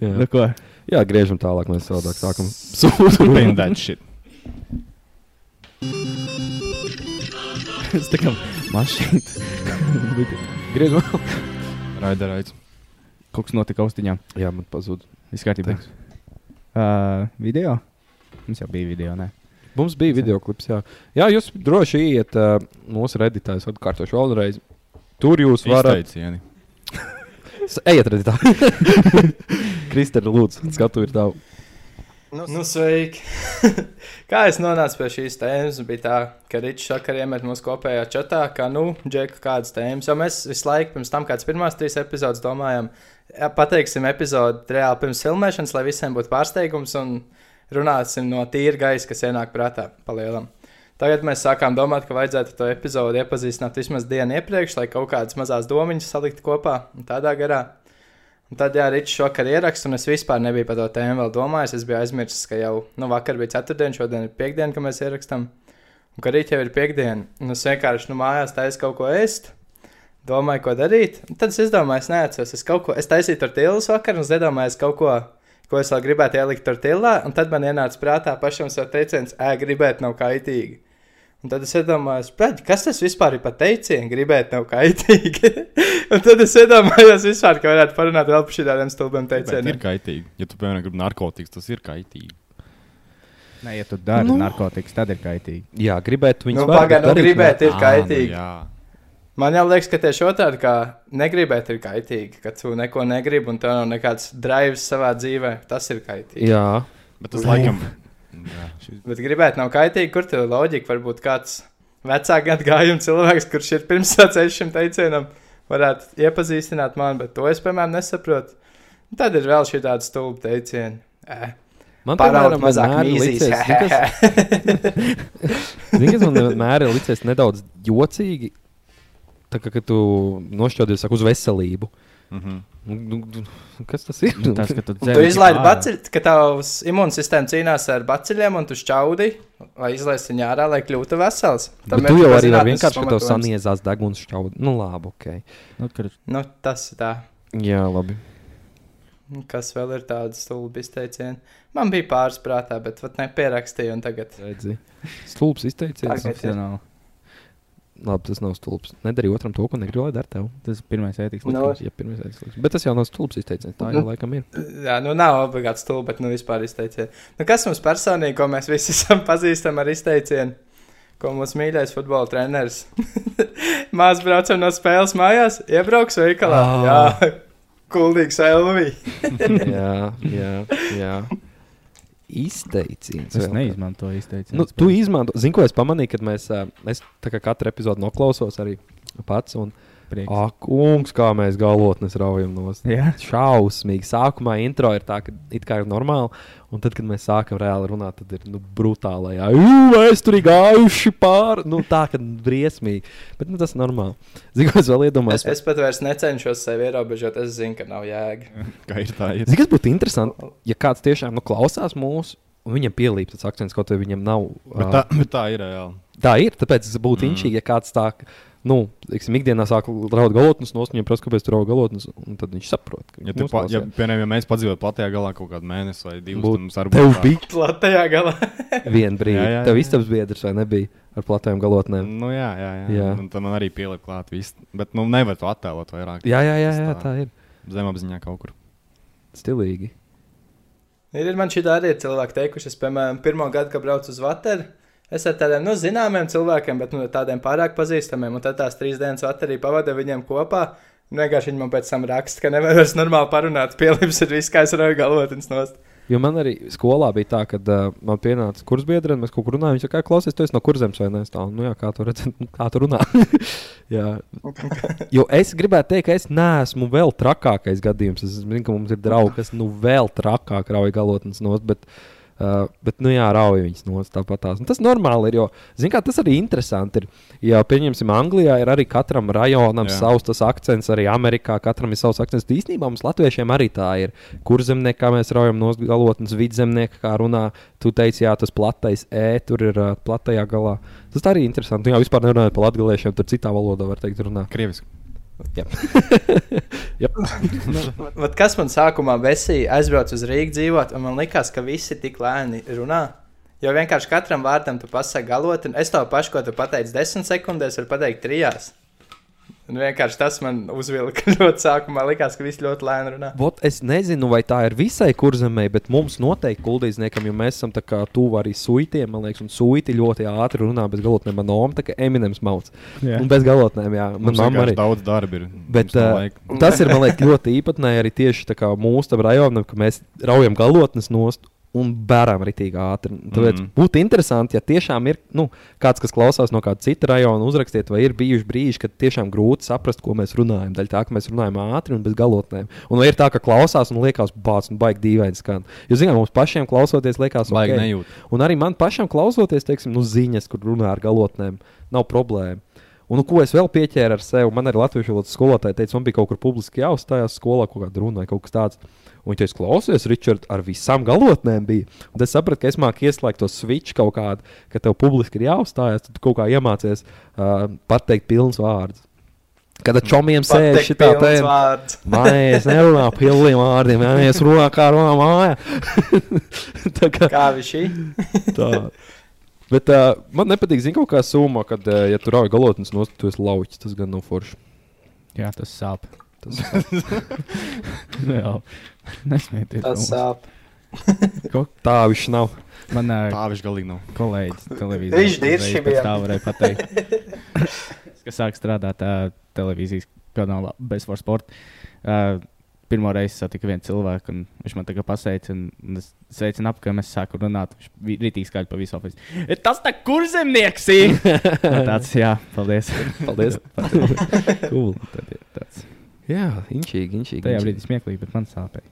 jā. Nu, ko? jā, griežam tālāk, mēs savādāk sākam. Turpin that shit. Es tā kā mašīna. Griežam vēl. Raida, raida. Kaut kas notika austiņā. Jā, man pazūd. Viss kārtībā. Thanks. Uh, video? Mums jau bija video, nē. Mums bija video klips, jā. Jā, jūs droši iet uh, mūsu redītājs atkārtošu vēlreiz. Tur jūs varat Izteicieni. S- Ejiet, redziet, tā. Kristēna, lūdzu, skatu ir tavu. Nu, sveiki! kā es nonācu pie šīs tēmas, bija tā, ka Rīčs šakar iemet mūsu kopējā čatā, ka, nu, džeka, kādas tēmas, jo mēs visu laiku pirms tam kādas pirmās trīs epizodes domājam, "Ja, pateiksim epizodi reāli pirms filmēšanas, lai visiem būtu pārsteigums un runāsim no tīra gaisa, kas ienāk prātā palielam. Tagad mēs sākām domāt, ka vajadzētu to epizodu iepazīstināt vismaz dienu iepriekš, lai kaut kādas mazas domiņas salikt kopā un tādā garā. Un tad, jā, Rīčs vakar ierakstīja, un es vispār nebiju par to tēmu vēl domājis. Es biju aizmirsis, ka jau nu, vakar bija ceturtdiena, šodien ir piekdiena, kad mēs ierakstām. Un ka rīt jau ir piekdiena. Un es vienkārši nu, mājās taisu kaut ko ēst. Domāju, ko darīt. Un tad es izdomāju, es neatceros. Es, kaut ko, es taisīju tortillas vakar, un es iedomājos kaut ko, ko es vēl gribētu ielikt tortillā. Un tad man ienāca prātā pašam sev teiciens, ē, gribēt nav kaitīgi. Un tad es iedomājos, "Bļaļ, kas tas vispār ir par teicienu, gribēt nav kaitīgi. un tad es iedomājos, vispār, ka varētu parunāt vēl par šādiem stulbiem Bet ir teicieniem. kaitīgi. Ja tu, piemēram, gribi narkotikas, tas ir kaitīgi. Nē, ja tu dari nu. narkotikas, tad ir kaitīgi. Jā, gribētu viņu Nu, Pagaidām, nu, gribēt ir kaitīgi. Ah, Man jau liekas, ka tieši otrādi, kā negribēt, ir kaitīgi. Kad tu neko negribi un tev nav nekāds drives savā dzīvē, tas ir kaitīgi. Jā, nu, jā. Bet tas laikam. Bet gribēt nav kaitīgi, kur tev loģika var būt kāds vecāks gadījuma cilvēks, kurš ir pirms sacējis šim teicienam, varētu iepazīstināt mani, bet to es, piemēram, nesaprotu. Un tad ir vēl šī tāda stulba teiciena. Eh. man Parāda piemēram, mazāk vienmēr mīzīs. licies- zini, kas- Zini, kas man vienmēr ir licies nedaudz jocīgi, tā kā, kad tu nošķaudies saka, uz veselību. Mhm. Nu, nu, nu, Kas tas ir? Nu, tas, ka tu Tu dzēri. izlaidi baciļus, ka tavs imūnsistēma cīnās ar baciļiem, un tu šķaudi, lai izlaistu viņu ārā, lai kļūtu vesels. Tam Bet ir Nu, tu jau arī tas vari zinātnes vienkārši, ka tev pamatojums. saniezās deguns šķaudi. Nu, labi, ok. Nu, kur- Nu, tas ir tā. Jā, labi. Kas vēl ir tāds stulbs izteiciens? Man bija pāris prātā, bet pat nepierakstīju, un tagad Redzi. Stulbs izteicies. Tagad. Profesionāli. Labi, tas nav stulbs. Nedari otram to, ko negribu, lai dara tev. Tas ir pirmais ētikas Nu. likums. Jā, pirmais aizslēgts. Bet tas jau nav stulbs izteicies. Tā Mhm. jau laikam ir. Jā, nu nav obligāti stulbi, bet nu vispār izteicieni. Nu, kas mums personīgi, ko mēs visi esam pazīstami ar izteicienu? Ko mūsu mīļais futbola treneris mākslinieks braucam no spēles mājās, iebrauks veikalā. Ā. Oh. Jā, kuldīgs Elvija. jā, jā, jā. Izteiciens. Es vēl. neizmantoju izteicienu. Nu, tu izmanto, zini, ko es pamanīju, kad mēs, ā, es tā kā katru epizodi noklausos arī pats. Un, prieks. ak, kungs, kā mēs galotnes raujam nost. Jā. Šausmīgi. Sākumā intro ir tā, ka it kā ir normāli, un tad, kad mēs sākam reāli runāt, tad ir nu, brutāli. Jā, mēs tur gājuši pāri. Nu, tā kā briesmīgi. Bet nu, tas ir normāli. Zini, ko es vēl Es, iedomājos? es pat vairs necenšos sevi ierobežot. Es zinu, ka nav jēga. Kā ir tā? Ir. Zini, kas būtu interesanti, ja kāds tiešām nu, klausās mūsu, un Viņam pielīp tas akcents, kaut arī viņam nav. Bet tā, bet tā ir reāli. tā ir. Tāpēc tas būtu mm. inčīgi, ja kāds tā, nu, teiksim, ikdienā sāk raud galotnes, no viņiem prasa, kāpēc tur raud galotnes, un tad viņš saprot. ka Ja, mūsu tu, pa, ja, klausās. piemēram, ja mēs padzīvojam platajā galā kaut kādu mēnesi vai divus, Būtu- tad mums arī Tev bija Latvijā galā. viena brīdi. Jā, Jā, jā, jā, jā. Tev istabas biedrs vai nebija ar platām galotnēm? Nu, jā, jā, jā. jā. Jā. Un tam man arī pielikt klāt. Visu. Bet nu, nevar to attēlot vairāk. Jā, jā, jā, Tas jā tā. tā ir. Zemapziņā kaut kur. Stilīgi. Ir, ir man šī tā arī ir cilvēki teikuši, es, piemēram, pirmo gadu, kad braucu uz Vateru, es ar tādiem, nu, zināmiem cilvēkiem, bet, nu, tādiem pārāk pazīstamiem, un tad tās trīs dienas Vaterī pavadīju viņiem kopā. Un Vienkārši viņi man pēc tam raksta, ka nevar vairs normāli parunāt. Pielips ir viss, kā es varu galvotnes nost. Jo man arī skolā bija tā, ka uh, man pienāca kurs biedra, un mēs kaut kur runājām. Viņš saka, klausies, tu esi no kurzemes vai nē, Es tā. Nu, jā, kā tu redzi, nu, kā tu runā. jā. Jo es gribētu teikt, ka es neesmu vēl trakākais gadījums. Es zinu, ka mums ir draugi, kas nu vēl trakāk rauj galotnes nost. Bet... Uh, bet, nu, jā, rauj viņas no tāpat tās. Un Tas normāli ir, jo, zinām, tas arī interesanti ir interesanti. Ja, pieņemsim, Anglijā ir arī katram rajonam Jā. jā. savs tas akcents, arī Amerikā katram ir savs akcents. Tā Īstenībā mums latviešiem arī tā ir. Kur zemniekā kā mēs raujam no galotnes, vidzemniekā kā runā, tu teici, jā, tas platais E, tur ir uh, platajā galā. Tas tā arī ir interesanti. Nu, Jā, vispār nerunājot par latgaliešiem, tur citā valodā var teikt runā. Krieviski. Vat kas man sākumā besīja, aizbraucu uz Rīgā dzīvot, un man likās, ka visi tik lēni runā. Jo vienkārši katram vārdam tu pasaki galot, un es to pašu, ko tu pateici desmit sekundēs, varu pateikt trijās. Un vienkārši tas man uzvilka ļoti sākumā, likās, ka visi ļoti lēni runā. Vot, es nezinu, vai tā ir visai kurzemē, bet mums noteikti kuldīzniekam, jo mēs esam tā kā tuvu arī suitiem, man liekas, un suiti ļoti ātri runā bez galotnēm. Man oma tā kā Eminems mauc. Jā. Un bez galotnēm, jā. Man Mums Nu, mamma arī. vienkārši daudz darba ir. Bet, Mums nav uh, laika. tas ir man liekas, ļoti īpatnēji arī tieši tā kā mūsu tam rajonam, ka mēs raujam galotnes nost un bērām ritīgi ātri. Tāpēc mm. Mhm. būtu interesanti, ja tiešām ir nu, kāds, kas klausās no kāda cita rajona, uzrakstiet, vai ir bijuši brīži, kad tiešām grūti saprast, ko mēs runājam. Daļai tā, ka mēs runājam ātri un bez galotnēm. Un vai ir tā, ka klausās un liekas, bāc, un baigi dīvaini skan. Jo, zinām, mums pašiem klausoties, liekas, Baigi okay. nejūt. Un arī man pašam klausoties, teiksim, nu, ziņas, kur runā ar galotnēm, nav problēma. Un, nu, ko es vēl pieķēru ar sevi? Man arī latviešu valodas skolotāja teica, man bija kaut kur publiski jāuzstājās skolā, kaut kāda runa vai kaut kas tāds. Un viņš teica, klausies, Ričard, ar visām galotnēm bija. Un tad es sapratu, ka es māku ieslēgt to switch kaut kādu, ka tev publiski ir jāuzstājas, tad tu kaut kā iemācies uh, pateikt pilns vārdus. Kad ar čomiem sēž šī tā pilns tēma. vārds. Nē, es nerunāju par pilniem vārdiem, nē, es runāju kā runā mājā. tā kā Kā viņš šī? Tā. Bet uh, man nepatīk, zina, kaut kā summa, kad, uh, ja tu rauj galotnes, no tu esi lauķis. Tas gan nav forši. Jā, tas sāp. Tas Jā, nesmieties. Tas sāp. tā viņš nav. Manā Tā viņš galīgi nav. kolēģis televīzijā. Viņš dirši uzreiz pēc bija. Tā varēja pateikt. Kas sāk strādāt uh, televīzijas kanālā Bezforce Sport. Uh, Pirmā reize satiku vienu cilvēku, un viņš man tagad pasveica, un un es sveicu, ap, ka mēs sākam runāt. Viņš bija rītīgi skaļi pa visu ofisu. "E, Tas tā kur zemnieks ir! Man tāds, jā, paldies. Paldies. cool. Tad ir tāds. Jā, inčīgi, inčīgi. Tajā brīdī smieklīgi, bet man sāpēja.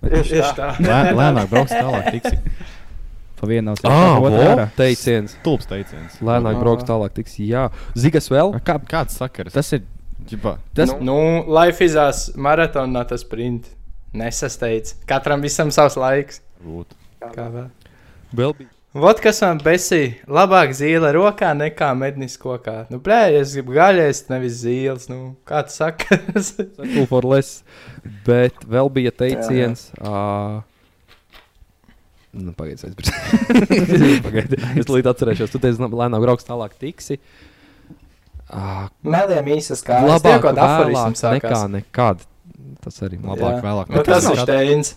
Tieši tā. Lē- Lēnāk brauks tālāk. Tiksi. Pa vienu nav Ah, sāpēja. vo, teiciens. Stulbs teiciens. Lēnāk brauks tālāk. Tiks, jā, zigas vēl. Kā, Kāds sakars? tas ir. Ģipā. Tas, nu, Nu, life izās maratonā tas print. Nesasteidz. Katram visam savs laiks. Būtu. Kā vēl? Vēl bija. Vot kas man besī, labāk zila rokā nekā mednis kokā. Nu, brē, es gribu gaļēst, nevis zīles. Nu, kāds saka, Cool for less. Bet vēl bija teiciens. Uh, Nu, Pagaidiet, aizmirst. Pagaidi, es līdz atcerēšos. Tu teici, lēnām brauks tālāk, tiksi. Uh, meliem īsas kā labāk kaut kāda vēlāk aforisma nekā nu, sākās. nekad. Tas arī man Labāk Jā. vēlāk. Nu, tas ir nekā- Steins.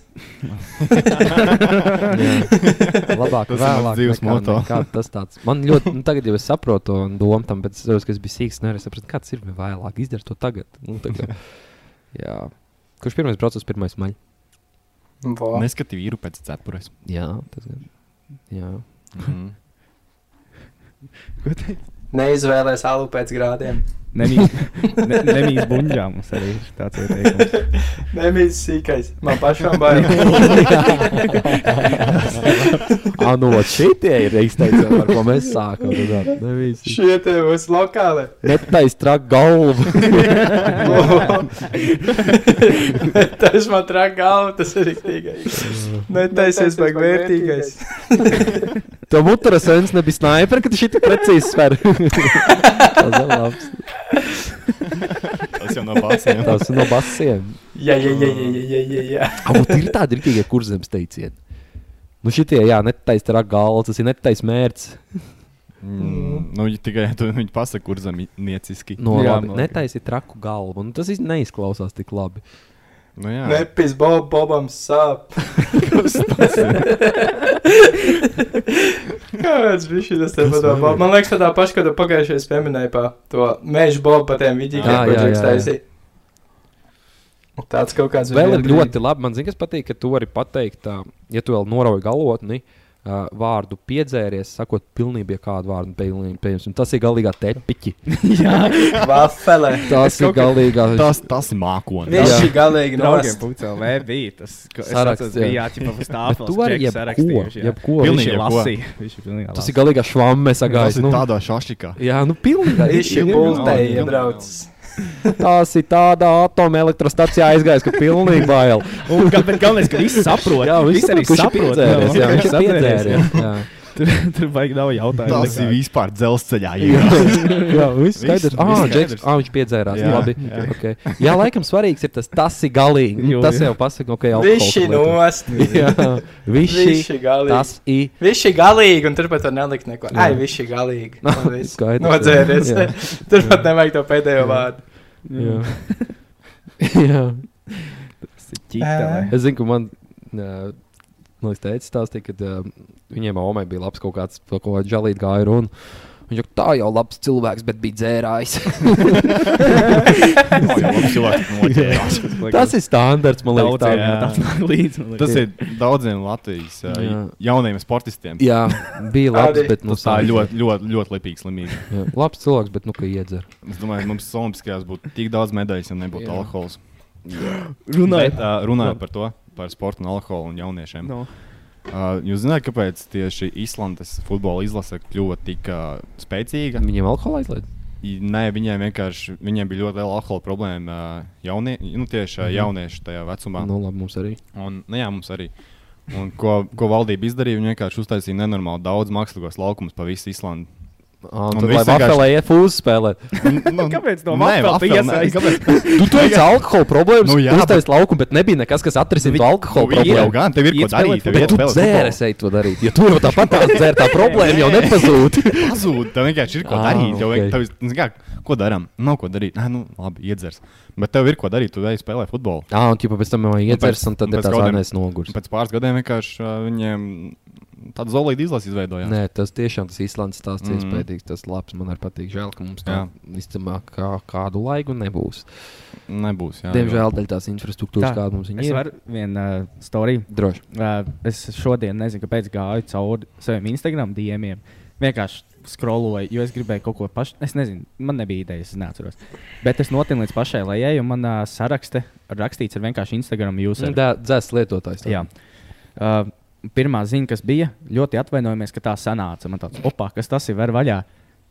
patīk. Labāk Tas ir mans vēlāk dzīves nekā moto. nekad. Tas tāds. Man ļoti, nu, tagad jau es saprotu to un domu tam, bet es saprotu, ka es biju sīgs, nevarēju saprast, kāds ir vēlāk. Izdara to tagad. Nu, tā kā- Jā. Kurš pirmais brauc uz pirmais maļu? Vo. Neskati vīru pēc cepures. Jā, tas gan. Jā. Mhm. Neizvēlēs alu pēc grādiem. Nemīlis buļģā mums arī ir tāds ieteikums. Nemīlis sīkais. Man pašam bail. Ah, nu, ot, šitie ir izteicami, ar ko mēs sākam. runāt. Ne visi. Šie te būs lokāli. Netais trak galvu. tas man trāk galva, tas ir riktīgais. Netaisies baig vērtīgais. Tev mutara sens nebija sniper, kad šitie precīzi sver. Tas ir labs. Tas jau nav pats. ne? Tas ir no basiem. Jā, jā, jā, jā, jā, jā, jā. Ah, ot, ir tādi rīkīgie kurzems teicieni. Nu, šitie, jā, netais trak galvu, tas ir netais mērķis. Mm, Nu, ja tikai tu viņu pasaki, kur zemnieciski. No, Jā, jā, labi, man liekas. netaisi traku galvu. Nu, tas iz- neizklausās tik labi. Nu, jā, Nepis Bob, Bobam sāp. Kāds bija šis Kas te man padomā? ir? Man liekas, tā paša, kad tu pagājušajā pieminēji pa to mežu Bobu, pa tiem Jā, vidīgiem, jā, jā, ko jā. drīkstēsi. Tāds kaut kāds Vēl ir viņiem ļoti labi. Man zina, kas patīk, ka tu vari pateikt, ā, ja tu vēl norauji galotni. ā, Vārdu piedzēries, sakot, pilnībā kādu vārdu pilnībā. pieņemsim. Tas ir galīgā tepiķi. bija. Vafelē. Tas ir galīgā. Tas, tas ir mākonis. Viņš ir galīgi Draugiem nost. pucelē bija tas, kas Saraksts, jā. bija jāķipa uz tāfeles. Tu vari Džeks jebko, sarakstījuši, jā. jebko. Viņš Pilnīgi ir jebko. lasīja. Viņš ir pilnīgi Tas lasīja. ir galīgā švammes Tas sagājis. ir Nu, tādā šašikā. jā, nu pilnīgi. Viņš ir bultē iebraucis. Tas ir tādā atomelektrostacijā aizgājis, ka pilnīgi bail. Un ga- bet Galvenais, ka viss saprot. Jā, viņš Visi arī kurš ir saprot. piedzēries, Jā, viņš ir sapredzēries. piedzēries. jā. Tur, tur baigi nav jautājumu. Tas ir vispār dzelzceļā. Jā, viss Viss- skaidrs. viss Ah, skaidrs. Džeks, ah, viņš piedzērās. Jā, Jā, labi. Jā. jā. Okay. jā, laikam svarīgs ir tas, tas ir galīgi. Jū, Nu, Tas jā. jau pasaka, ok, alkohola Viņš ir lieta. nost. Jā, Viņš Visi, ir galīgi. tas ir. Viņš ir galīgi, un turpat var nelikt neko. Jā. Ai, viņš ir galīgi. Un viss. skaidrs, jā. Nodzēries. Jā. Turpat nevajag to pēdējo vārdu. Jā. jā. ķītele. Es zinu, ka man. Uh, Man liekas, teica, stāstīja, ka uh, viņiem Omei bija labs kaut kāds, par ko žēlīt gāja runa. Viņš jau tā jau labs cilvēks, bet bija dzērājis. Tas tas ir standarts, man liekas. tā. jā. līdzi. ir daudziem Latvijas ā, Jā. jauniem sportistiem. Jā, bija labs, Arī. bet nu, Tas tā ir sāp. ļoti, ļoti, ļoti lipīga slimība. Jā, labs cilvēks, bet nu, ka iedzer. Es domāju, mums Olimpiskajās būtu tik daudz medaļas, ja nebūtu Jā. alkohola. Runājot. Bet, ā, runājot par to, par sportu un alkoholu un jauniešiem. No. Uh, jūs zināt, kāpēc tieši Islandes futbola izlase kļuva tik uh, spēcīga? Viņiem alkohola aizliedz. I- Nē, viņiem vienkārši viņiem bija ļoti liela alkohola problēma uh, jaunie, nu, tieši Mhm. uh, jauniešu tajā vecumā. Nu, labi, mums arī. Un, nu, jā, mums arī. Un ko, ko valdība izdarīja? Viņa vienkārši uztaisīja nenormāli daudz mākslīgos laukumus pa visu Islandi. Ah, Un tur viss lai vienkārši- vafelē iet fūzi spēlēt. Nu, Kāpēc no nē, vafela tu vafela nē, iesaisti? kāpēc? Tu teici alkohola problēmas, Nu nu, jā, jā, uztais bet... laukumu, bet nebija nekas, kas atrisinātu nu, alkohola Nu, ir jau problēmu. gan, tev ir ko Iet spēlēt darīt. Tev Bet ir tu spēlēt dzēries, ej to darīt. Ja tur jau tāpat tās dzēr, tā problēma jau nepazūd. futbolu. Pazūd, tev vienkārši ir ko Ah, Ā, darīt. Tev, ok. okay. tev, nu, kā, ko darām? Nav ko darīt. Nē, nu, labi, iedzers. Bet tev ir ko darīt, tu vēl spēlē futbolu. Jā, un ķipa pēc tam jau iedzers, pēc- un tad un ir pēc tās gaudiem- ānēs Un nogurs. pēc pāris gadiem vienkārši uh, viņiem tāda zelīta izlase izveidojās. Nē, tas tiešām tas īslandes stāsts ir Mhm. iespējams. Tas labs, man arī patīk. Žēl, ka mums tā Jā. visticamāk kā, kādu laiku nebūs. Nebūs. Jā, Diemžēl dēļ tās infrastruktūras, Tā, kāda mums viņa Es ir. varu vienu uh, storiju. Droši. Uh, es šodien nezinu, kāpēc gāju cauri saviem Instagram diemiem. Vienkārši skroloju, jo es gribēju kaut ko pašu. Es nezinu, man nebija idejas, es neatceros. Bet es notinu līdz pašai lejai, un manā uh, sarakstā rakstīts ar vienkārši Instagram user. Dā- Dzēs lietotājs. tā. Jā. Uh, pirmā ziņa, kas bija, ļoti atvainojamies, ka tā sanāca. Man tāds, opā, kas tas ir, var vaļā.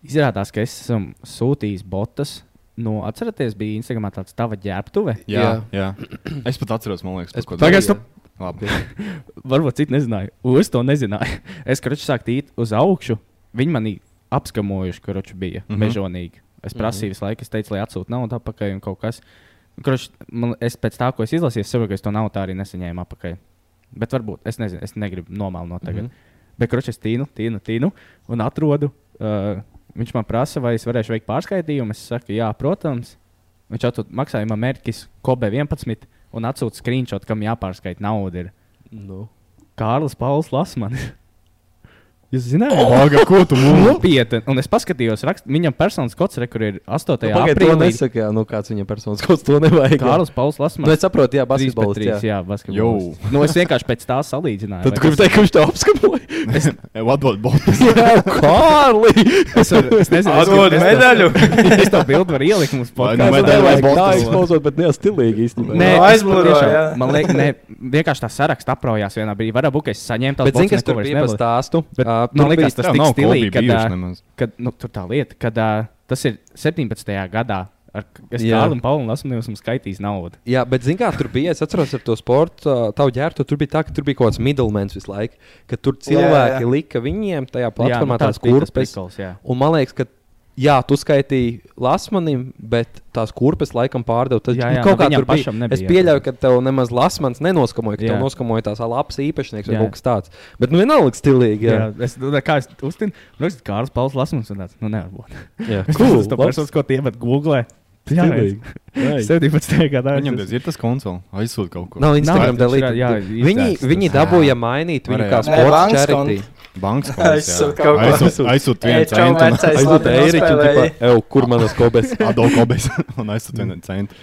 Izrādās, ka es esmu sūtījis botas. No, atceraties, bija Instagramā tāds tava ģērbtuve. jā, jā. jā. Es pat atceros, man liekas, Es par ko pat darīju. Tagad stop. Labi. Varbūt citi nezināja. Un Es to nezināju. Es kraču sāku tīt uz augšu. Viņi manī apskamojuši, ka roču bija mm Mhm. -hmm. mežonīgi. Es prasīju visu laiku, es teicu, lai atsūta naudu atpakaļ un kaut kas. Kruč, man, es pēc tā, ko es izlasīju, es saprotu, ka es to naudu tā arī nesaņēmu atpakaļ. Bet varbūt es nezinu, es negribu nomēlnot tagad. Mm Mhm. -hmm. Bet kruč, es tīnu, tīnu, tīnu un atrodu. Uh, viņš man prasa, vai es varēšu veikt pārskaitījumu. Es saku, jā, protams. Viņš atsūta maksājuma mērķis Kobe 11 un atsūta screenshot, kam jāpārskaita nauda. Ir. Nu. Kārlis Pauls Lasmanis. Jūs zināt, Aga, ko tu mūžā? Nopietni. Un es paskatījos, rakst, viņam personas kods, re, kur ir 8. Nu, Nu, Pagaidiet, to aprīlī. nesaka, jā, nu kāds viņa personas kaut ko nevajag. Kārlis Pauls Lasmans. Nu, es saprotu, 3 jā, pret basketbols. 3, Jā. jā, basketbols. Nu, es vienkārši pēc tā salīdzināju. Tad vai tu gribi teikt, ka viņš tev apskapoja? Vadot botus. jā, Kārli! kas- es, varu- es nezinu, es Atdod gribu- es to- medaļu! Es to bildu varu ielikt mums Vai podkāstā. nu medaļu vai nevajag tā botus? izklausot, bet neastilīgi īstenībā. Nē, Nu, es aizbluro, patiešām- jā. Man liekas, ne, vienkārši tā saraksts apraujās vienā brīdī. Varbūt ka es saņēmu tādu Bet zini, kas tur bija par stāstu? Bet Ā, man tur liekas, bija- tas tik stilīgi, ka tā- Kad, nu, tur tā lieta, ka uh, tas ir 17. gadā. Ar, es Jā. Kārlim Paulam Lasmanim esmu skaitījis naudu. Jā, bet zini, kā tur bija. Es atceros, ar to sporta ā, tavu ģērbtu. Tur bija tā, ka tur bija kaut kāds middlemen visu laiku. Ka tur cilvēki jā, jā. jā, jā. lika viņiem tajā platformā jā, nu, tās bija tas kurpes. prikols, jā. Un man liekas, ka. Jā, tu skaitīji Lasmanim, bet tās kurpes laikam pārdeva. Tad Jā, nu, jā, kaut nu kā viņam tur bija. pašam nebija, es jā. pieļauju, ka tev nemaz Lasmans nenoskamoja, ka Jā. tev noskamoja tās labs īpašnieks vai Jā. kaut kas tāds. Bet nu vienalga stilīgi. Jā. Jā, jā, es domāju, kā es uztinu, nu, tas Kārlis Pauls Lasmans un tāds, nu, nevar būt. jā. Es Cool, to labs, personas, ko tie met Google. Jā, stilīgi. Nice. 17. gadā. Viņam tas ir tas konsole. Aizsūta kaut ko. Nav Nav, Instagram tas ir, dalīta. jā, Viņi, izdēsts viņi tas. dabūja mainīt viņu Varēja. kā Nē, sporta bankas čariti. Banks Aizsūta kaut ko. Aizsūta Ej, vienu čau, centu. vecais, Aizsūtīt labi, Eiriķu, nospēlēji. tipā, "Ew, kur manas kobes? Adolfobis. Un aizsūta vienu centu.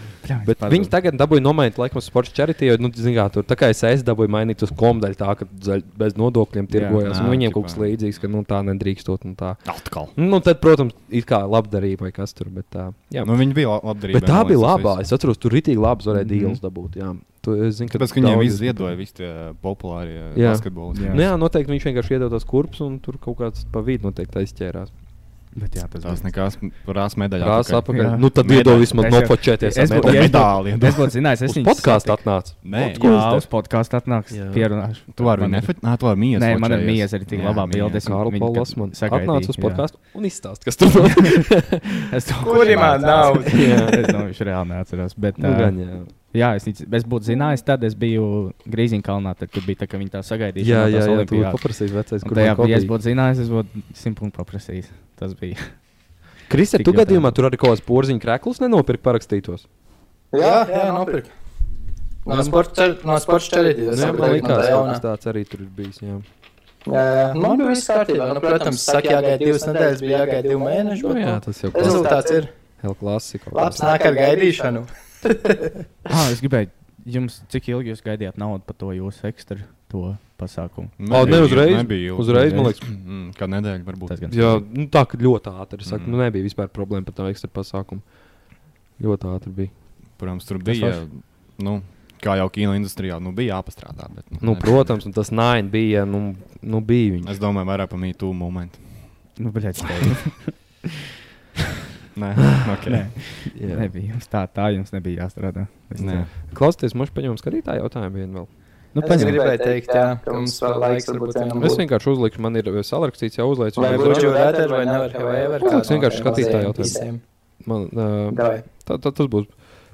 Bet viņi tagad dabūja nomainīt, laikam, sports charity, jo, nu, zin kā, tur tā kā es aizsēju, dabūju mainīt uz komdaļu, tā ka zaļ- bez nodokļiem tirgojās. nā, un Viņiem tipā. kaut kas līdzīgs, ka, nu, tā nedrīkstot. Un tā. Atkal. Nu, tad, protams, ir kā labdarība vai kas tur, bet tā. Jā. Nu, viņi bija la- labdarība. bet tā man bija liekas, labā. tas viss. Es atceros, tur rītīgi labs varēja dīls dabūt. Jā. Tu, es zinu, ka Mhm. Tāpēc, ka viņiem daudz- viss ziedoja, visi tie populārie Jā. basketbolisti. Nu, jā, noteikti viņš vienkārši iedod tos kurpes un tur kaut kāds pa vidu noteikti aizķērās. Bet jā, tas Tās nekās rāsas medaļā. Krāsa tikai. apakaļ. Jā. Nu, tad Medaļu. iedod Es vismaz jau- nofočēties. es ar būtu- ja medaļu. es būtu- Medāli. Es būtu zinājis, es Uz viņu podkāstu atnāca. Nē, Jā, uz podkāstu atnāks. Jā. Pierunāšu. Tu vari viņu Man ir- nefot. Nē, tu vari mīlēt. Nē, man ir mīlestība arī tik Jā, labā mīja. bildē. Es Kārlis Pauls man atnāca uz podkāstu un izstāsta, kas tur Kuriem ir nauda? Es domāju, viņš reāli neatceros. Bet, Nu, uh, notiek. jā, es, nic- es būtu zinājis, tad es biju Grīziņkalnā, tad, kad bija tā, ka viņi tā sagaidīja. Jā, jā, jā, tu paprasīji vecais, Kur kur tajā man brīdī es kopija. būtu zinājis, es būtu simt punktu paprasījis. Tas bija. Kristē, Tik tu ļoti gadījumā labi. tur arī kaut kāds porziņu krēklus nenopirka parakstītos. Jā, jā, nopirkt. No sporta cer- no sporta čariti. Nu, tas jā, man saprotu, no tā liekas, ka jaunā. tas tāds arī tur ir bijis. Jā, Jā, jā. Nu, Man bija viss kārtībā. Nu, protams, saka, jāgaida divas nedēļas, bija jāgaida divi mēneši. nu, bet, jā nu, tas jau klasi- Rezultāts ir Hell klasika. labs. Nāk ar gaidīšanu. Ah, es gribēju, jums, cik ilgi jūs gaidījāt naudu par to jūsu ekstra to pasākumu? O, ne uzreiz. nebija ilgi. Uzreiz, man liekas. Mm, Kā nedēļa varbūt. Tas gan Jā, nu, tā ka ļoti ātri. Es saku, Mm. nu nebija vispār problēma par tā ekstra pasākumu. Ļoti ātri bija. Protams, tur bija. Nu, kā jau kino industrijā, nu bija jāpastrādā. Bet, Nu, nebija. protams, un tas nine bija, nu, nu bija viņa. Es domāju, vairāk par mītu momentu. Nu, bet, tā Nē, okay. Nē. nebija. Jums tā, tā jums nebija jāstrādā. Es Nē. ceru. Klausies, mums paņēma skatītāju jautājumu vienu vēl. Nu, Es paņem. gribēju teikt, jā, ka mums vēl laiks varbūt vienam Es būtu. vienkārši uzliku, man ir eh, salrakstīts, jau uzlaicu. Vai uzreiz. būtu jūrētēji vai nevar, vai ever. Man liekas, kādu vienkārši no tiem skatītāju mazajiem jautājumu. visiem. Man, uh, Davai. tā, tā, tas būs.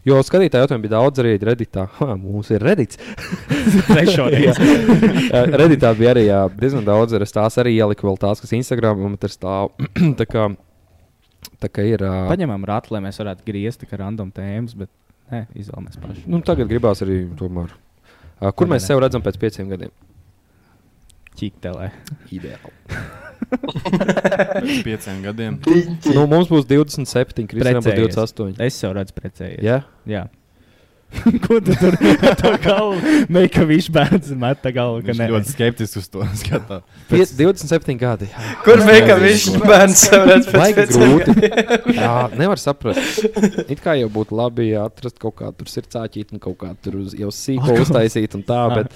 Jo skatītāju jautājumu bija daudz arī Redditā. Ha, mums ir Reddits. Trešo reizi. Eh, Redditā bija arī jā, diezgan daudz. ir. Es tās arī ieliku vēl tās, kas Instagram man tur stāv. tā kā, tā kā ir. eh, ā, Paņemam rātu, lai mēs varētu griezt kā random tēmas, bet nē, izvēlamies paši. Nu, tagad gribās arī tomēr. Ā, Kur mēs sevi redzam pēc pieciem gadiem? Čiktelē. Ideāli. Pēc pieciem gadiem. Nu, mums būs 27, Kristīna būs Precējies. 28. Es jau redzu precējies. Jā, Jā. Ko tu tur tā galvu? Meika viņš bērns met tā galvu, ka Viņš nē. ļoti skeptiski uz to skatās. Pie, 27 gadi. jā. Kur veikā viņš bērns sev redz pēc Baigi pieciem gadiem? grūti. Jā, nevar saprast. It kā jau būtu labi ja atrast kaut kādu sirdsāķīti un kaut kādu tur uz, jau sīko uztaisīt un tā, bet,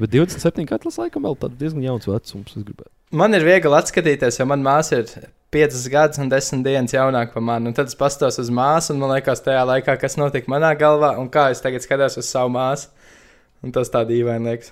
bet 27 gadi tas laikam vēl tāds diezgan jauns vecums. es gribētu. Man ir viegli atskatīties, jo man māsa ir 5 gadus un 10 dienas jaunāka par mani. Un tad es paskatos uz māsu, un man liekas, tajā laikā, kas notika manā galvā, un kā es tagad skatos uz savu māsu. Un tas tā dīvaini liekas.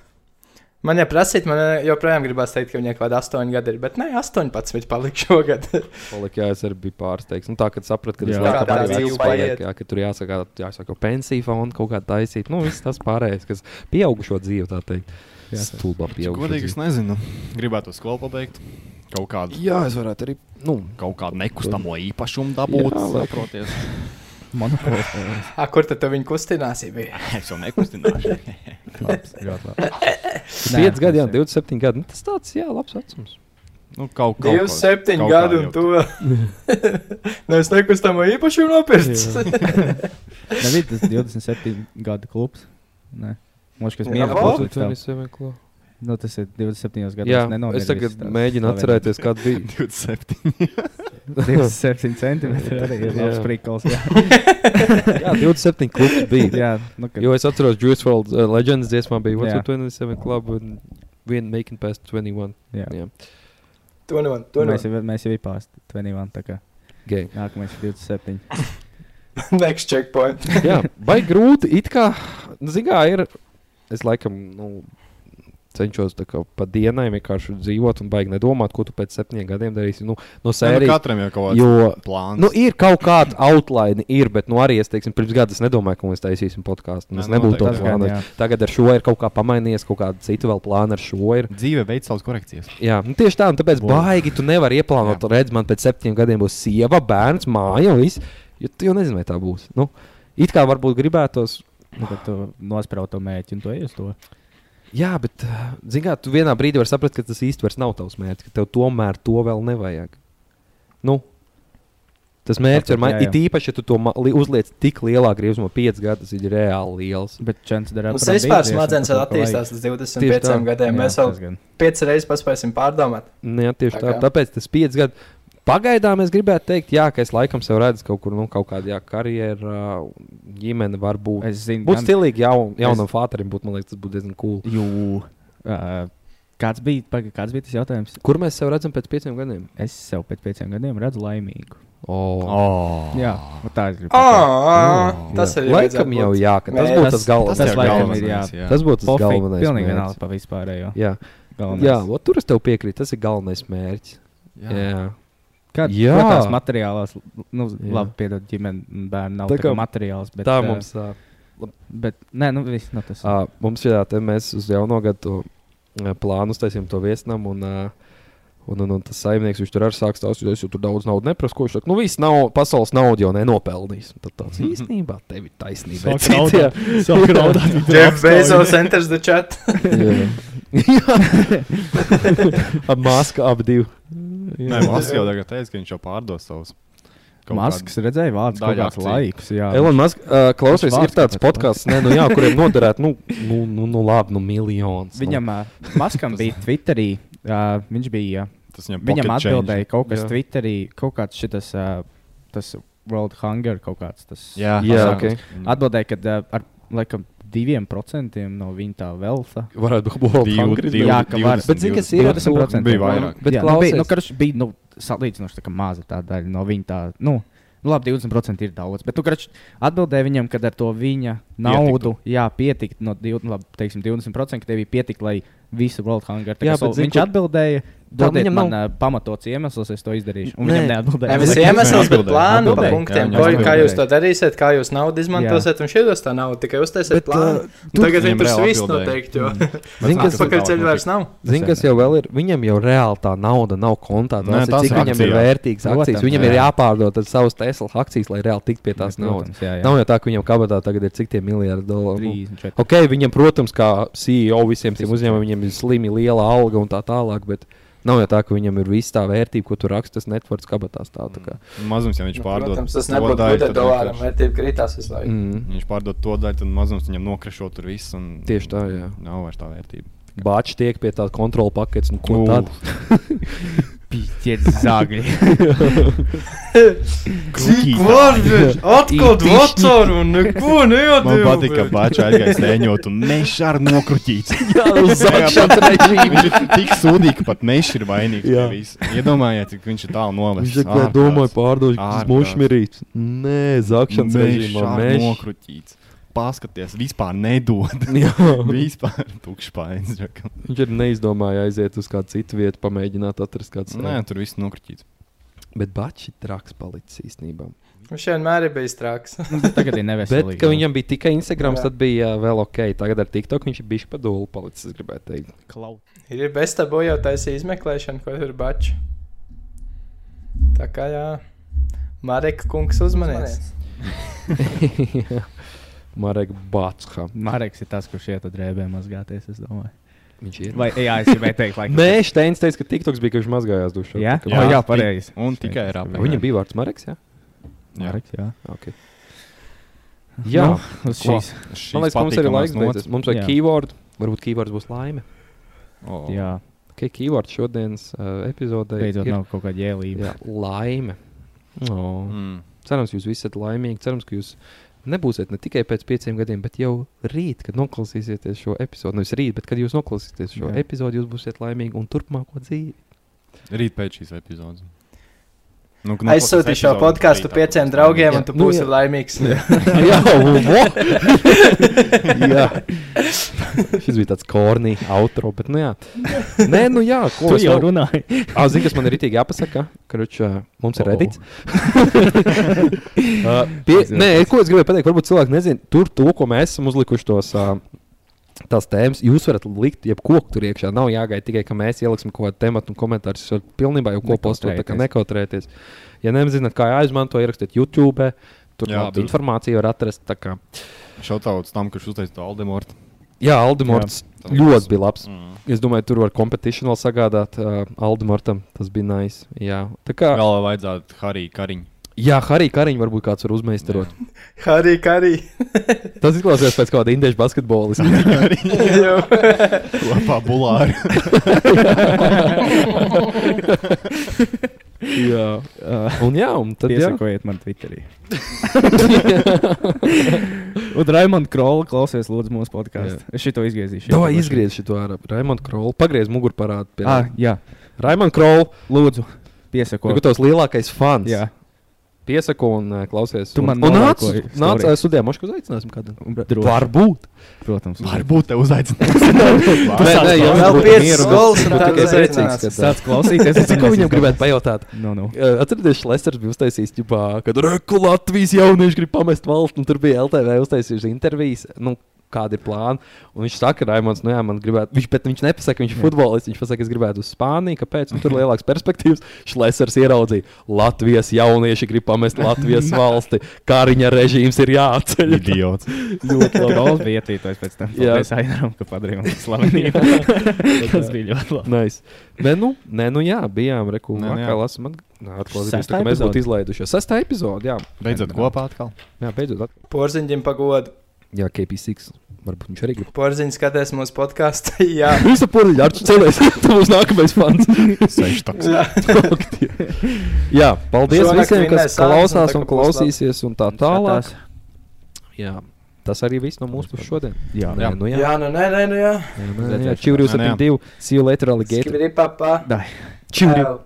Man jau prasīt, man joprojām gribās teikt, ka viņai kaut kāda 8 gadi ir, bet nē, 18 palika šogad. Palik, jā, es arī biju pārsteigts. Nu, tā, kad sapratu, ka tas Jā. laikam Kā tā arī dzīve vecs paliek, paiet. jā, ka tur jāsaka, jāsaka pensija fonda kaut kāda taisīt. Nu, viss tas pārējais, kas pieaugušo dzīvi, tā teikt. Jā, tā. Stulbā pieaugušo Godīgi es nu- dzīvi. nezinu. Gribētu skolu pabeigt. Kaut kādu, Jā, es varētu arī, nu, kaut kādu nekustamo īpašumu dabūt. Jā, laikam. saproties. Monopols. A, Ah, kur tad tu viņu kustināsi? Bija? Es jau nekustināšu. Labs, ļoti labi. 5 gadi, jā, 27 gadi. Nu, tas tāds, jā, labs vecums. Nu, kaut kaut ko. 27 kaut kā gadi un jau tu vēl. Nē, es nekustamo īpašumu nopircis. Nav ir tas 27 gadu klubs. Nē, Moš, kas Jā, mīl Abo? klubs. līdz tam. 27 klū. Nu, tas ir 27 gados. Jā, nenomiris es tagad tas mēģinu slavenais. atcerēties, kāda bija. 27. 27 centimetri. Arī ir Jā. labs prikals. Jā, Jā, 27 klubs bija. jā nu, ka... Jo es atceros, Juice World uh, Legends dziesmā bija What's Jā. up 27 Club un Vien Making Past 21 jā. jā. To no Nu, Mēs manis. jau, mēs jau bijām 21. Tā kā game. nākamais ir 27. Next checkpoint. Jā, vai grūti, it kā, nu, zini, kā ir. Es laikam, nu, cenšos tā kā pa dienai vienkārši dzīvot un baigi nedomāt, ko tu pēc septiņiem gadiem darīsi. Nu, no Nē, nu, sērijas. katram jau kaut kāds Jo, plāns. nu, ir kaut kāda outline, ir, bet, nu, arī es, teiksim, pirms gada es nedomāju, ka mēs taisīsim podkāstu. Nē, Mēs nu, nebūtu to noteikti. Tas gan, plānojuši. jā. Tagad ar šo ir kaut kā pamainījies, kaut kāda cita vēl plāna ar šo ir. Dzīve veids savas korekcijas. Jā, nu tieši tā, un tāpēc Wow. baigi tu nevari ieplānot, redz, man pēc septiņiem gadiem būs sieva, bērns, māja un viss. Jo tu jau nezini, vai tā būs. Nu, it kā varbūt gribētos. Nu, Kad tu nosprauti to mēķi un to iestu. Jā, bet, eh, zini, kā tu vienā brīdī vari saprast, ka tas īstenībā nav tavs mērķis, ka tev tomēr to vēl nevajag. Nu, tas mērķis Tāpēc, ir jā, mainīts. jā. It īpaši, ja tu to ma- li- uzliec tik lielā griezumā, 5 gadus ir reāli liels. Bet čens dara. Mums vispār smadzenes attīstās līdz 25 gadiem. Mēs vēl piecas reizes paspēsim pārdomāt. Nu, Jā, tieši tā. Tā kā. Tāpēc tas 5 gadi. Pagaidām es gribētu teikt, jā, ka es laikam sev redzu kaut kur, nu, kaut kādā jā, karjerā, ģimene var būt. Es zinu, Būtu būs stili. stilīgi jaun, jaunam es... fāterim, būt, man liekas, tas būtu diezgan cool. Jū. ā, Kāds bija, paga, kāds bija tas jautājums? Kur mēs sev redzam pēc pieciem gadiem? Es sev pēc pieciem gadiem redzu laimīgu. Oh. Oh. Jā, nu tā ir. Ā, Tas ir Laikam jau jā, ka tas Mē- būtu tas- tas galvenais. tas jau laikam galvenais, ir, jā. Tas būtu tas galvenais. Pilnīgi mērķis. vienalga pa vispārējo. Jā, jā Galvenais. o, tur es tev piekrītu. Tas ir galvenais mērķis. Jā. Jā. Kāda Jā. ir tās materiālās, nu, Jā. labi, piedod, ģimene, un bērni nav Tā tā kā kā- materiāls, bet Bet, tā ā, mums ir. Bet, nē, nu, viss nav tas. Uh, mums ir jāatzīmē, mēs uz jauno gadu to, ā, plānu uztaisījām to viesnam. Un, ā, Un, un, un tas saimnieks viņš tur arī sāks tās, jo es jau tur daudz naudas neprasu. Ko viņš saka, nu viss nav, pasaules naudu jau nenopelnīs. Un Tad tāds īstenībā tev ir taisnība. Sāk raudāt. Sāk raudāt. Jeff Bezos enters the chat. Ap masku, ap divu. Nē, Maskis jau tagad teica, ka viņš jau pārdos savus. kaut Maskas redzēja, vārds kaut daļa kāds akciju. laiks. Jā, Elon Musk, uh, klausies, Viņš ir tāds vārds kāpēc podkāsts, nu, jā, kuriem noderētu, nu, nu, nu, nu labi, nu, miljons. viņam, ā, Maskam bija Twitterī, ā, viņš bija, kādu- Tas viņam, viņam pocket change. atbildēja kaut kas Jā. Twitterī, kaut kāds šitas, ā, tas World Hunger kaut kāds. Tas, Jā, Jā, jā ok. Atbildēja, ka ā, ar, laikam, diviem procentiem no viņa tā velta. nu, varētu būt World Divu- Hunger. divu- Jā, ka divu- var. divu- Bet zini, kas ir? 20% Bija vairāk. Bet jā, nu, bija, klausies. nu, karš bija nu, salīdzinoši tā kā maza tā daļa no viņa. Tā, nu, nu, labi, 20% ir daudz, bet nu, tu karš atbildēji viņam, ka ar to viņa naudu jā, pietikt no div- nu, labi, teiksim, 20%, ka tev bija pietikt, lai visu World Hunger tā Jā, kā savu- bet zini, Viņš kur- atbildēja, Tā dodiet viņam man nav- nav... pamatots iemesls, es to izdarīšu. Un Nē. viņam neatbildēja. Nevis Atbildēja. iemesls, bet Atbildēja. plānu par Atbildēja. punktiem. Jā, Ko, jā, kā atbildēja. jūs to darīsiet, kā jūs naudu izmantosiet, un šeit jūs tā naudu tikai uztaisiet Bet, plānu. ā, Un Tagad Viņiem viņi tur reāli svīst atbildēja. noteikti, jo Zini, kas atpakaļceļ vairs nav. Zini, kas jau vēl ir? Viņam jau reāli tā nauda nav kontā. Nē, Nē, tās tas ir ir viņam ir akcijās. vērtīgs Protams, akcijas. Viņam jā. ir jāpārdod ar savas Tesla akcijas, lai reāli tiktu pie tās naudas. Protams, jā, jā. Nav jau tā, ka viņam kabatā tagad ir cik tie miljardi dolāru. Nu, 34. Ok, viņam, protams, kā CEO visiem tiem uzņēmumiem, viņam ir slimi liela alga un tā tālāk. Bet nav jau tā, ka viņam ir viss tā vērtība, ko tu raksti, tas netvars kabatā stāv. tā kā. Mazums, ja nu, viņš pārdod. Protams, tas to nebūtu daļu, gudri tad dolāram, vienkārši- vērtība krītās visu laiku. Mm. Viņš pārdod to daļu, tad mazums viņam nokrišo tur viss. un Tieši tā, jā. Nav vairs tā vērtība. Bāķis tiek pie tā kontrola paketes, un ko Nu, tad? Pietiet zagļi. Kruķītā. Kvarģis, atkal dvacāru un neko Man nejādīju. patīk, ka Bāķis aizgāja sēņot un mežs ar nokrutīt. Jā, uz zakšanas režīmu. Viņš ir tik sūdīgs, ka pat mežs ir vainīgs. pie Jā. visa. Iedomājieties, cik viņš ir tālu novests. Viņš tikai domāja, pārdod Ārprāts. šis mušmirīts. Nē, zakšanas režīmā Mēģinājums mēs. nokrutīt. Paskaties, vispār nedod. vispār tukšs pains. žakam. Viņš ir neizdomājis aiziet uz kādu citu vietu, pamēģināt atrast kādu Nē, citu. tur viss nokrutīt. Bet bači traks palicis īstenībā. Viņš vienmēr ir bijis traks. Nu, Tagad ir Bet, neveselīgi. ka viņam bija tikai Instagram, Jā. tad bija ā, vēl ok. Tagad ar TikTok viņš ir bijis pa dūlu palicis, es gribētu teikt. Ir bez tabo jau taisīja izmeklēšana, ko ir bačs. Tā kā jā, Marek kungs uzmanies. Marek Batsha. Mareks ir tas, kurš iet uz drēbēm mazgāties, es domāju. Viņš ir. Vai jā, es gribēju teikt, laikam. Nē, Steins teica, ka TikToks bija, ka viņš mazgājās dušā. Jā? Tā kā- Jā, Jā, jā pareizi. Un tikai rap. Vai Viņam bija vārds Marks. Jā, Jā. Marks, jā. okay. jā. Nu, uz Ko? šīs. man liekas, mums ir laiks beidzas. Mums vajag Jā. keyword. Varbūt keywords būs laime. Jā, Okay, keyword šodienas uh, epizodē beidzot ir nav kaut kāda jēlība. jā, laime. Oh. Mm. Cerams, jūs visi esat laimīgi. Cerams, ka jūs nebūsiet ne tikai pēc pieciem gadiem, bet jau rīt, kad noklausīsieties šo epizodi. Nevis rīt, bet kad jūs noklausīsieties šo Jā. Jā. epizodi, jūs būsiet laimīgi un turpmāko dzīvi. Rīt pēc šīs epizodes. Nu, ka noklausās Aizsūtīšu šo epizodu, podkāstu rītā pieciem klausās. draugiem, Jā. un tu Nu, būsi jā. laimīgs. Jā, jā. Šis bija tāds kornīgs outro, bet nu jā. Nē, nu jā, ko Tu es jau vēl- runāji. Ā, Zini, kas man ir itī jāpasaka? Kruč, uh, mums ir Oh. redīts. uh, pie, nē, ko es gribēju pateikt, varbūt cilvēki nezina, tur to, ko mēs esam uzlikuši tos. Uh, Tās tēmas jūs varat likt, jebko tur iekšā. Nav jāgaida tikai, ka mēs ieliksim kaut kādu tematu un komentāru. Jūs varat pilnībā jau ko postot, tā kā nekautrēties. Ja nezināt, kā jāizmanto, ierakstiet YouTube. Tur Jā, jau tur- informāciju var atrast. tā Kā... Šautauts tam, kurš uzteica to Aldemortu. Jā, Aldemorts tas ļoti bija labs. Mm. Es domāju, tur var kompetīcijā sagādāt uh, Aldemortam. Tas bija nice. Jā, tā kā. Vēl vajadzētu Hariju Kariņu. Jā, arī kariņš varbūt kāds var uzmeistarot. Harī, Harī. Tas izklausās pēc kāda indiešu basketbolista. Kopā bulāri. jā. Un jā, un tad jā. Iesakojiet man Twitterī. Un Raimonds Krola klausies, lūdzu, mūsu podkāstu. Es šito izgriezīšu. Davai izgriež šo ar Raimondu Krolu. Pagriez muguru parādu. pie Ah, jā, Raimonda Krola, lūdzu, ko piesako. ir tavs lielākais fans? Jā, Piesako un ā, klausies. Tu un, man un nāc, nolēkoji nāc story. ā, studijā. Mošku uzaicināsim kādu. Droši. Varbūt. protams. Varbūt te uzaicinās. Nē, nē, jau Vēl būtu piecas mieru, bet- skolas un bet tad tikai uzaicinās. priecīgs, ka tā- Sāc klausīties. Nu, Es tikai viņam gribētu pajautāt. No, no. Uh, Atcerieties, Lesers bija uztaisījis, ģipā, kad Reku Latvijas jaunieši grib pamest valsts, un tur bija LTV uztaisījis intervijas. Nu, Kādi ir plāni? Un viņš saka, Raimons, nu jā, man gribētu, viņš, bet viņš nepasaka, viņš ir futbolists. Viņš pasaka, es gribētu uz Spāniju, kāpēc Un tur ir lielāks perspektīvas. Šlēsers ieraudzīja, Latvijas jaunieši grib pamest Latvijas valsti, Kariņa režīms ir jāatceļ. Idiots. Ļoti labi. Daudz bija ietītojis pēc tam. Jā. Paldies Ainaram, ka padarīja mums slavenību. Tas bija ļoti labi. Nice. Nē, nu, nē, nu jā, bijām reku. Nē, nu jā. Vakar lasām, atklājās, Sestā ka mēs būtu epizode. izlaidušies. Sestā epizode, jā. Beidzot kopā atkal. Jā, beidzot. at- Porziņģim pagodu. Jā, KP6. Varbūt viņš arī grib. Porziņš skatās mūsu podkāstu. Jā, Viņš ir poļi, ar cilvēks. Tu būs nākamais fans. Seštoks. Jā, paldies Šonakt visiem, kas vinnēs Sāls, un klausās tā, un ka būs klausīsies un tā tālāk. Jā. Tas arī viss no mūsu puses šodien. Jā, Nē, nu jā. jā nu nē, nē, nu jā. Jā, jā, jā. Čivri Nē, nu jā. 72. See you later, alligator. Skribi papā. Dai. Čivri. Au.